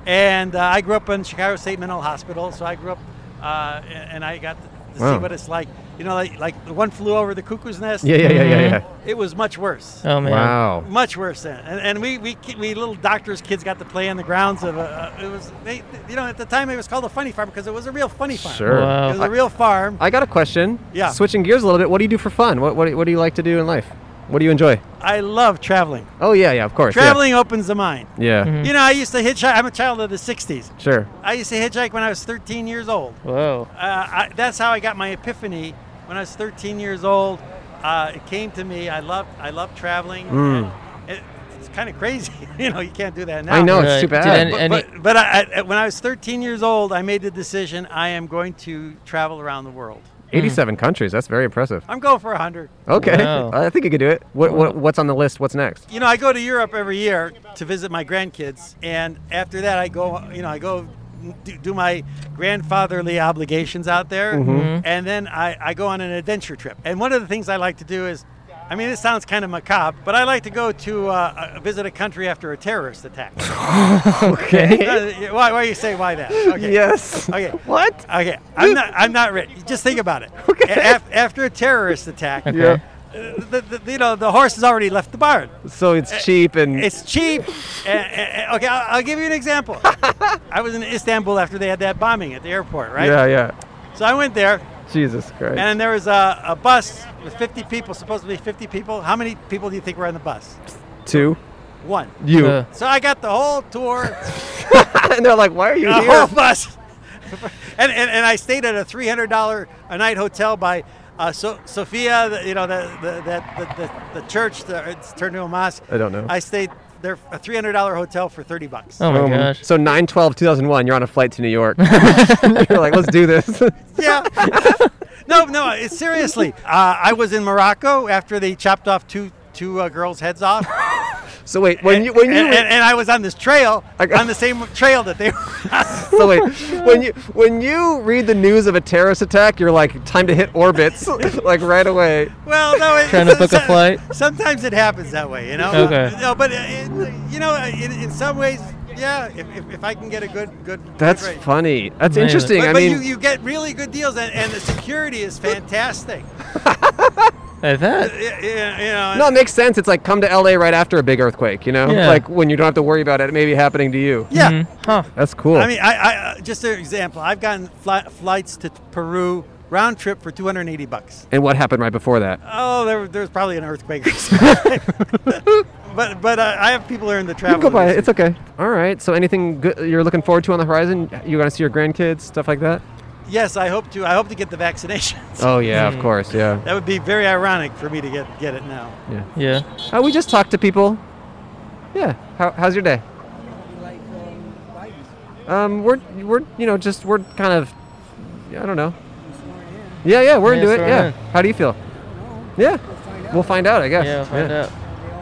Speaker 6: and uh, I grew up in Chicago State Mental Hospital, so I grew up uh, and and I got to see
Speaker 2: Wow.
Speaker 6: what it's like. You know, like, like the one flew over the cuckoo's nest. Mm-hmm.
Speaker 2: Yeah, yeah, yeah, yeah, yeah.
Speaker 6: It was much worse.
Speaker 1: Oh man.
Speaker 2: Wow.
Speaker 6: Much worse than, and, and we, we ki- we little doctors kids got to play on the grounds of a, a it was they you know at the time it was called a funny farm because it was a real funny farm.
Speaker 2: Sure.
Speaker 6: it
Speaker 1: Wow.
Speaker 6: was a real farm.
Speaker 2: I got a question.
Speaker 6: Yeah.
Speaker 2: Switching gears a little bit, what do you do for fun? What, what, what do you like to do in life? What do you enjoy?
Speaker 6: I love traveling.
Speaker 2: Oh, yeah, Mm-hmm. yeah, of course. yeah.
Speaker 6: Traveling opens the mind.
Speaker 2: Yeah,
Speaker 1: Mm-hmm.
Speaker 6: You know, I used to hitchhike. I'm a child of the '60s.
Speaker 2: sure.
Speaker 6: I used to hitchhike when I was 13 years old.
Speaker 1: Whoa.
Speaker 6: uh, I, that's how I got my epiphany when I was 13 years old. Uh, it came to me. I love I love traveling.
Speaker 2: Hmm.
Speaker 6: It, it's kind of crazy, you know. You can't do that now.
Speaker 2: I know, it's
Speaker 1: Right.
Speaker 2: too
Speaker 1: Did
Speaker 2: bad.
Speaker 1: any-
Speaker 6: But,
Speaker 1: any-
Speaker 6: but, but I, I, when I was 13 years old, I made the decision I am going to travel around the world.
Speaker 2: 87 countries. That's very impressive.
Speaker 6: I'm going for 100.
Speaker 2: Okay.
Speaker 1: Wow.
Speaker 2: I think you could do it. What, what, what's on the list? What's next?
Speaker 6: You know, I go to Europe every year to visit my grandkids, and after that, I go. You know, I go do, do my grandfatherly obligations out there, and then I, I go on an adventure trip. And one of the things I like to do is, I mean, this sounds kind of macabre, but I like to go to uh, uh, visit a country after a terrorist attack.
Speaker 2: Okay.
Speaker 6: Uh, why? Why you say why that? Okay.
Speaker 2: yes.
Speaker 6: Okay. Uh,
Speaker 2: What?
Speaker 6: Okay, I'm not. I'm not ready. Just think about it. A- af- after a terrorist attack,
Speaker 2: Yeah.
Speaker 6: uh, the, the, you know the horse has already left the barn.
Speaker 2: So it's cheap and
Speaker 6: eh, It's cheap. Eh, eh, eh, okay, I'll, I'll give you an example. I was in Istanbul after they had that bombing at the airport, right?
Speaker 2: yeah, yeah.
Speaker 6: So I went there,
Speaker 2: Jesus Christ.
Speaker 6: and there was a, a bus with 50 people, supposed to be 50 people. How many people do you think were on the bus?
Speaker 2: Two.
Speaker 6: One.
Speaker 2: You.
Speaker 1: Uh,
Speaker 6: So I got the whole tour,
Speaker 2: and they're like, why are you
Speaker 6: the
Speaker 2: here?
Speaker 6: whole bus. and, and, and I stayed at a $300 a night hotel by uh, so- Sophia, the, you know, the, the, that the, the, the church, the, it's turned into a mosque.
Speaker 2: I don't know.
Speaker 6: I stayed there, a $300 hotel for 30 bucks.
Speaker 1: Oh my
Speaker 2: Um,
Speaker 1: gosh.
Speaker 2: So 9 12 2001, you're on a flight to New York. you're like, let's do this.
Speaker 6: yeah. no, no. It's seriously. Uh, I was in Morocco after they chopped off two two uh, girls' heads off.
Speaker 2: so wait, when you when you
Speaker 6: and, and, and I was on this trail,
Speaker 2: I got-
Speaker 6: on the same trail that they were.
Speaker 2: So wait, when you when you read the news of a terrorist attack, you're like, time to hit orbits, like right away.
Speaker 6: well, no. It,
Speaker 1: Trying to book a
Speaker 6: so-
Speaker 1: flight?
Speaker 6: Sometimes it happens that way, you know.
Speaker 1: Okay.
Speaker 6: No, but uh, it, you know, uh, in, in some ways, yeah. If, if, if I can get a good good. good
Speaker 2: That's
Speaker 6: rate.
Speaker 2: funny. That's
Speaker 1: Amazing.
Speaker 2: interesting.
Speaker 6: But,
Speaker 2: I
Speaker 6: but
Speaker 2: mean,
Speaker 6: you, you get really good deals, and, and the security is fantastic.
Speaker 1: I bet.
Speaker 6: Y- y- you know,
Speaker 2: no, it makes sense. It's like come to LA right after a big earthquake, you know,
Speaker 1: Yeah.
Speaker 2: like when you don't have to worry about it maybe happening to you.
Speaker 6: yeah.
Speaker 1: Mhm. Huh.
Speaker 2: That's cool.
Speaker 6: I mean, I, I uh, just an example. I've gotten fli- flights to Peru round trip for 280 bucks.
Speaker 2: and what happened right before that?
Speaker 6: Oh, there, there was probably an earthquake. Or something. but but uh, I have people who are in the
Speaker 2: You
Speaker 6: travel.
Speaker 2: can go by it.
Speaker 6: industry.
Speaker 2: It's okay. All right. So anything good you're looking forward to on the horizon? You want to see your grandkids, stuff like that?
Speaker 6: yes, I hope to. I hope to get the vaccinations.
Speaker 2: Oh yeah, of course. Yeah.
Speaker 6: That would be very ironic for me to get get it now.
Speaker 2: Yeah.
Speaker 1: Yeah.
Speaker 2: Uh, we just talked to people. Yeah. How, how's your day? Um, we're we're you know just we're kind of I don't know. Yeah, yeah, we're
Speaker 1: Yeah,
Speaker 2: into it.
Speaker 1: sworn
Speaker 2: Yeah.
Speaker 1: in.
Speaker 2: How do you feel? Yeah. We'll find out, I guess.
Speaker 1: Yeah, we'll find
Speaker 2: Yeah.
Speaker 1: out.
Speaker 7: They all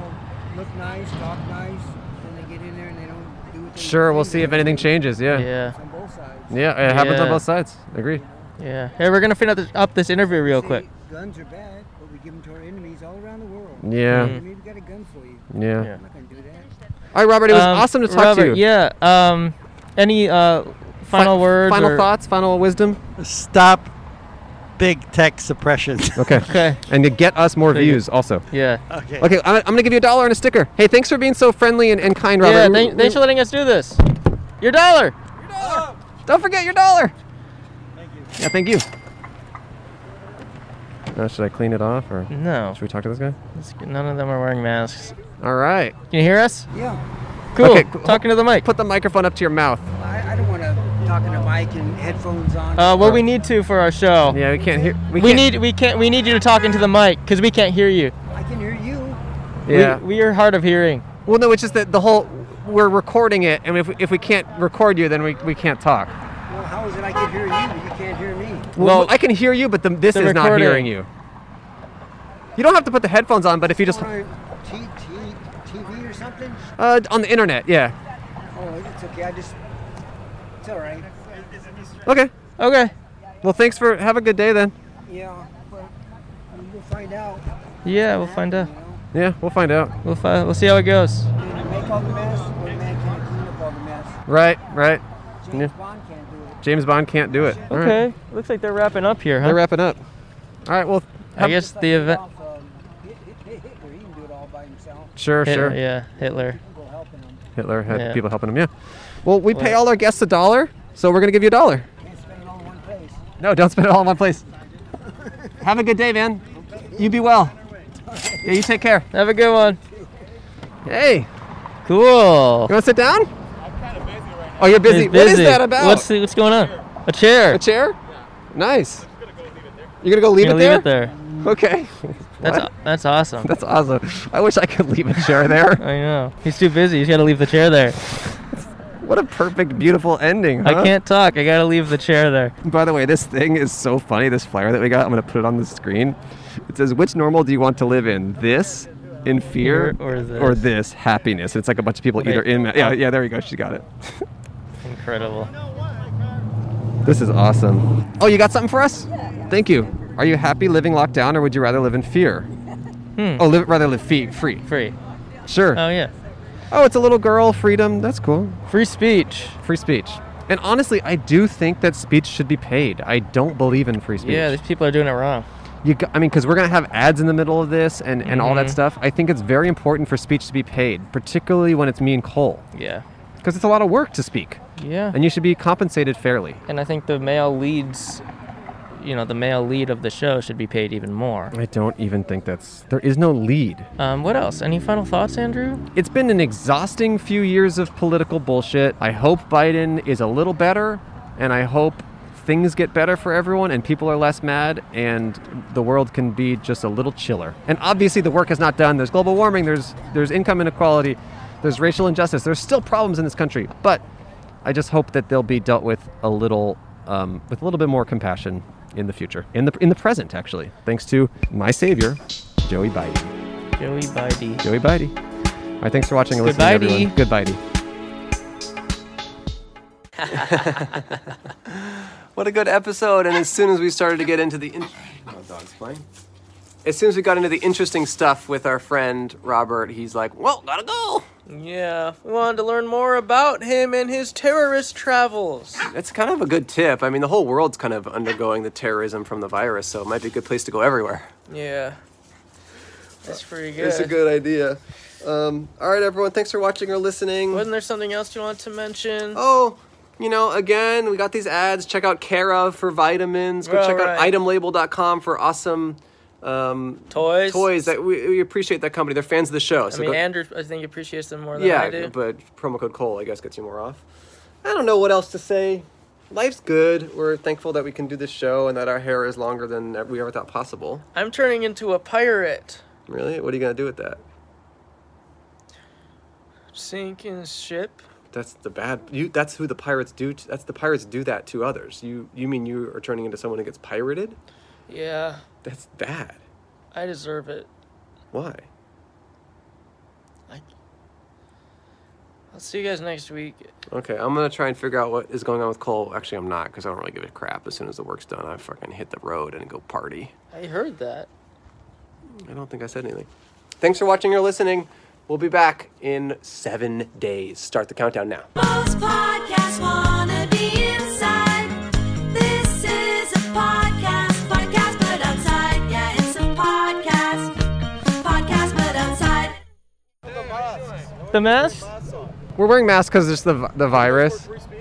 Speaker 7: look nice, talk nice, then they get in there and they don't do what they
Speaker 2: Sure, we'll see if anything changes. Yeah.
Speaker 1: Yeah.
Speaker 7: On both sides.
Speaker 2: Yeah, it happens on
Speaker 1: Yeah.
Speaker 2: both sides. Agreed.
Speaker 1: Yeah. Hey, we're gonna finish up this, up this interview real quick.
Speaker 7: See, Guns are bad, but we give them to our enemies all around the world.
Speaker 2: Yeah.
Speaker 7: Hey, Maybe we got a gun for you.
Speaker 2: Yeah.
Speaker 1: Mm. Yeah.
Speaker 7: I'm not gonna do that.
Speaker 2: All right, Robert, it was
Speaker 1: Um,
Speaker 2: awesome to talk
Speaker 1: Robert,
Speaker 2: to you.
Speaker 1: Yeah. Um, any uh,
Speaker 2: Fi-
Speaker 1: final words?
Speaker 2: Final
Speaker 1: or-
Speaker 2: thoughts, final wisdom.
Speaker 6: Stop big tech suppression.
Speaker 2: Okay.
Speaker 1: Okay.
Speaker 2: And to get us more
Speaker 1: Very good.
Speaker 2: views also.
Speaker 1: Yeah.
Speaker 6: okay.
Speaker 2: Okay, I'm, I'm going to give you a dollar and a sticker. Hey, thanks for being so friendly and, and kind, Robert.
Speaker 1: yeah.
Speaker 2: We-
Speaker 1: Thank,
Speaker 2: we-
Speaker 1: thanks for letting us do this. Your dollar.
Speaker 2: Don't forget your dollar. Thank you. Yeah, thank you. Now, Uh, should I clean it off or
Speaker 1: No.
Speaker 2: should we talk to this guy?
Speaker 1: It's- None of them are wearing masks.
Speaker 2: All right.
Speaker 1: Can you hear us?
Speaker 7: Yeah.
Speaker 1: Cool.
Speaker 2: Okay, cool.
Speaker 1: Talking to the mic.
Speaker 2: Put the microphone up to your mouth.
Speaker 7: Well, I, I don't want to talk in a mic and headphones on.
Speaker 1: Uh, what we need to for our show.
Speaker 2: Yeah, we can't hear. We,
Speaker 1: We
Speaker 2: can't,
Speaker 1: need we can't we need you to talk into the mic because we can't hear you.
Speaker 7: I can hear you.
Speaker 2: Yeah.
Speaker 1: We, we are hard of hearing.
Speaker 2: well, no, it's just that the whole we're recording it, and if we, if we can't record you, then we, we can't talk.
Speaker 7: Well, how is it I can hear you? but You can't hear me.
Speaker 1: Well,
Speaker 2: I can hear you, but the, this
Speaker 1: the
Speaker 2: is not
Speaker 1: recording.
Speaker 2: hearing you. You don't have to put the headphones on, but if you just
Speaker 7: On T, T, TV or something?
Speaker 2: uh, on the internet, yeah.
Speaker 7: Oh, it's okay. I just. It's all right.
Speaker 2: Okay.
Speaker 1: Okay.
Speaker 2: Well, thanks for have a good day then.
Speaker 7: Yeah. But we'll find out.
Speaker 1: Yeah, we'll find out.
Speaker 2: Yeah, we'll find out.
Speaker 1: We'll fi- we'll see how it goes.
Speaker 7: Make all the mess, or man can't clean up all the mess.
Speaker 2: Right, right.
Speaker 7: James
Speaker 2: Yeah.
Speaker 7: Bond can't do it.
Speaker 2: James Bond can't do it. All right.
Speaker 1: Okay. Looks like they're wrapping up here, huh?
Speaker 2: They're wrapping up. All right. Well,
Speaker 1: I guess the event.
Speaker 7: Hitler, he can do it all by himself.
Speaker 2: sure,
Speaker 1: Hitler,
Speaker 2: sure.
Speaker 1: Yeah, Hitler.
Speaker 7: People helping him.
Speaker 2: Hitler had
Speaker 1: Yeah.
Speaker 2: people helping him. Yeah. Well, we pay
Speaker 1: Well-
Speaker 2: all our guests a dollar, so we're gonna give you a dollar.
Speaker 7: Can't spend it all in one place.
Speaker 2: No, don't spend it all in one place. Have a good day, man. You be well. Yeah, you take care.
Speaker 1: Have a good one.
Speaker 2: Hey, you
Speaker 1: Cool.
Speaker 2: wanna sit down? I'm kind of busy right now. Oh, you're busy.
Speaker 1: He's
Speaker 2: What is
Speaker 1: busy.
Speaker 2: that about?
Speaker 1: What's the- what's going on? A chair.
Speaker 2: a chair? Nice. You're gonna go leave
Speaker 1: You're gonna
Speaker 2: it there.
Speaker 1: leave it there.
Speaker 2: Okay.
Speaker 1: That's
Speaker 2: What?
Speaker 1: that's awesome.
Speaker 2: That's awesome. I wish I could leave a chair there.
Speaker 1: I know. He's too busy. He's got to leave the chair there.
Speaker 2: What a perfect, beautiful ending.
Speaker 1: I
Speaker 2: huh?
Speaker 1: can't talk. I got to leave the chair there.
Speaker 2: By the way, this thing is so funny. This flyer that we got, I'm gonna put it on the screen. It says, "Which normal do you want to live in? This, in fear,
Speaker 1: Fear or this?"
Speaker 2: or this happiness?" And it's like a bunch of people either
Speaker 1: Wait.
Speaker 2: in. Yeah, yeah. There you go. She got it.
Speaker 1: Incredible.
Speaker 2: This is awesome. Oh, you got something for us? Thank you. Are you happy living locked down, or would you rather live in fear?
Speaker 1: Hmm.
Speaker 2: Oh, live, rather live fee- free.
Speaker 1: Free.
Speaker 2: Sure.
Speaker 1: Oh yeah.
Speaker 2: oh, it's a little girl. Freedom. That's cool.
Speaker 1: Free speech.
Speaker 2: Free speech. And honestly, I do think that speech should be paid. I don't believe in free speech.
Speaker 1: Yeah, these people are doing it wrong.
Speaker 2: You, go- I mean, because we're gonna have ads in the middle of this and, and all that stuff. I think it's very important for speech to be paid, particularly when it's me and Cole,
Speaker 1: Yeah.
Speaker 2: because it's a lot of work to speak,
Speaker 1: Yeah.
Speaker 2: and you should be compensated fairly.
Speaker 1: And I think the male leads, you know, the male lead of the show should be paid even more.
Speaker 2: I don't even think that's there is no lead.
Speaker 1: Um, what else? Any final thoughts, Andrew?
Speaker 2: It's been an exhausting few years of political bullshit. I hope Biden is a little better, and I hope things get better for everyone and people are less mad and the world can be just a little chiller. And obviously the work is not done. There's global warming, there's there's income inequality, there's racial injustice. There's still problems in this country, but I just hope that they'll be dealt with a little um, with a little bit more compassion in the future. In the in the present actually. Thanks to my savior, Joey Biden.
Speaker 1: Joey Bidey.
Speaker 2: Joey Bidey. All right, thanks for watching and listening,
Speaker 1: Goodbye,
Speaker 2: everyone. Goodbye, Dee.
Speaker 8: What a good episode! And as soon as we started to get into the, in- oh, dog's playing. As soon as we got into the interesting stuff with our friend Robert, he's like, "Well, gotta go."
Speaker 1: Yeah, we wanted to learn more about him and his terrorist travels.
Speaker 8: That's kind of a good tip. I mean, the whole world's kind of undergoing the terrorism from the virus, so it might be a good place to go everywhere.
Speaker 1: Yeah. That's pretty good.
Speaker 8: It's a good idea. Um, all right, everyone. Thanks for watching or listening.
Speaker 1: Wasn't there something else you wanted to mention?
Speaker 8: oh, you know, again, we got these ads. Check out Care of for vitamins. Go
Speaker 1: Well,
Speaker 8: check out
Speaker 1: right.
Speaker 8: itemlabel.com for awesome um,
Speaker 1: toys.
Speaker 8: toys. That we, we appreciate that company. They're fans of the show.
Speaker 1: I
Speaker 8: So
Speaker 1: mean,
Speaker 8: go,
Speaker 1: Andrew, I think appreciates them more than
Speaker 8: yeah,
Speaker 1: I do.
Speaker 8: but promo code Cole, I guess, gets you more off. I don't know what else to say. Life's good. We're thankful that we can do this show and that our hair is longer than we ever thought possible.
Speaker 1: I'm turning into a pirate.
Speaker 8: Really? What are you gonna do with that?
Speaker 1: Sinking ship.
Speaker 8: That's the bad. You. That's who the pirates do. T- that's the pirates do that to others. You. You mean you are turning into someone who gets pirated?
Speaker 1: Yeah,
Speaker 8: That's bad.
Speaker 1: I deserve it.
Speaker 8: Why?
Speaker 1: I... I'll see you guys next week.
Speaker 8: Okay, I'm gonna try and figure out what is going on with Cole. Actually, I'm not because I don't really give a crap. As soon as the work's done, I fucking hit the road and go party.
Speaker 1: I heard that.
Speaker 8: I don't think I said anything. Thanks for watching or listening. We'll be back in seven days. Start the countdown now.
Speaker 3: Most podcasts wanna be inside. This is a podcast, podcast but outside. Yeah, it's a podcast, podcast but outside.
Speaker 1: The mess?
Speaker 2: We're wearing masks because it's the vi- the virus.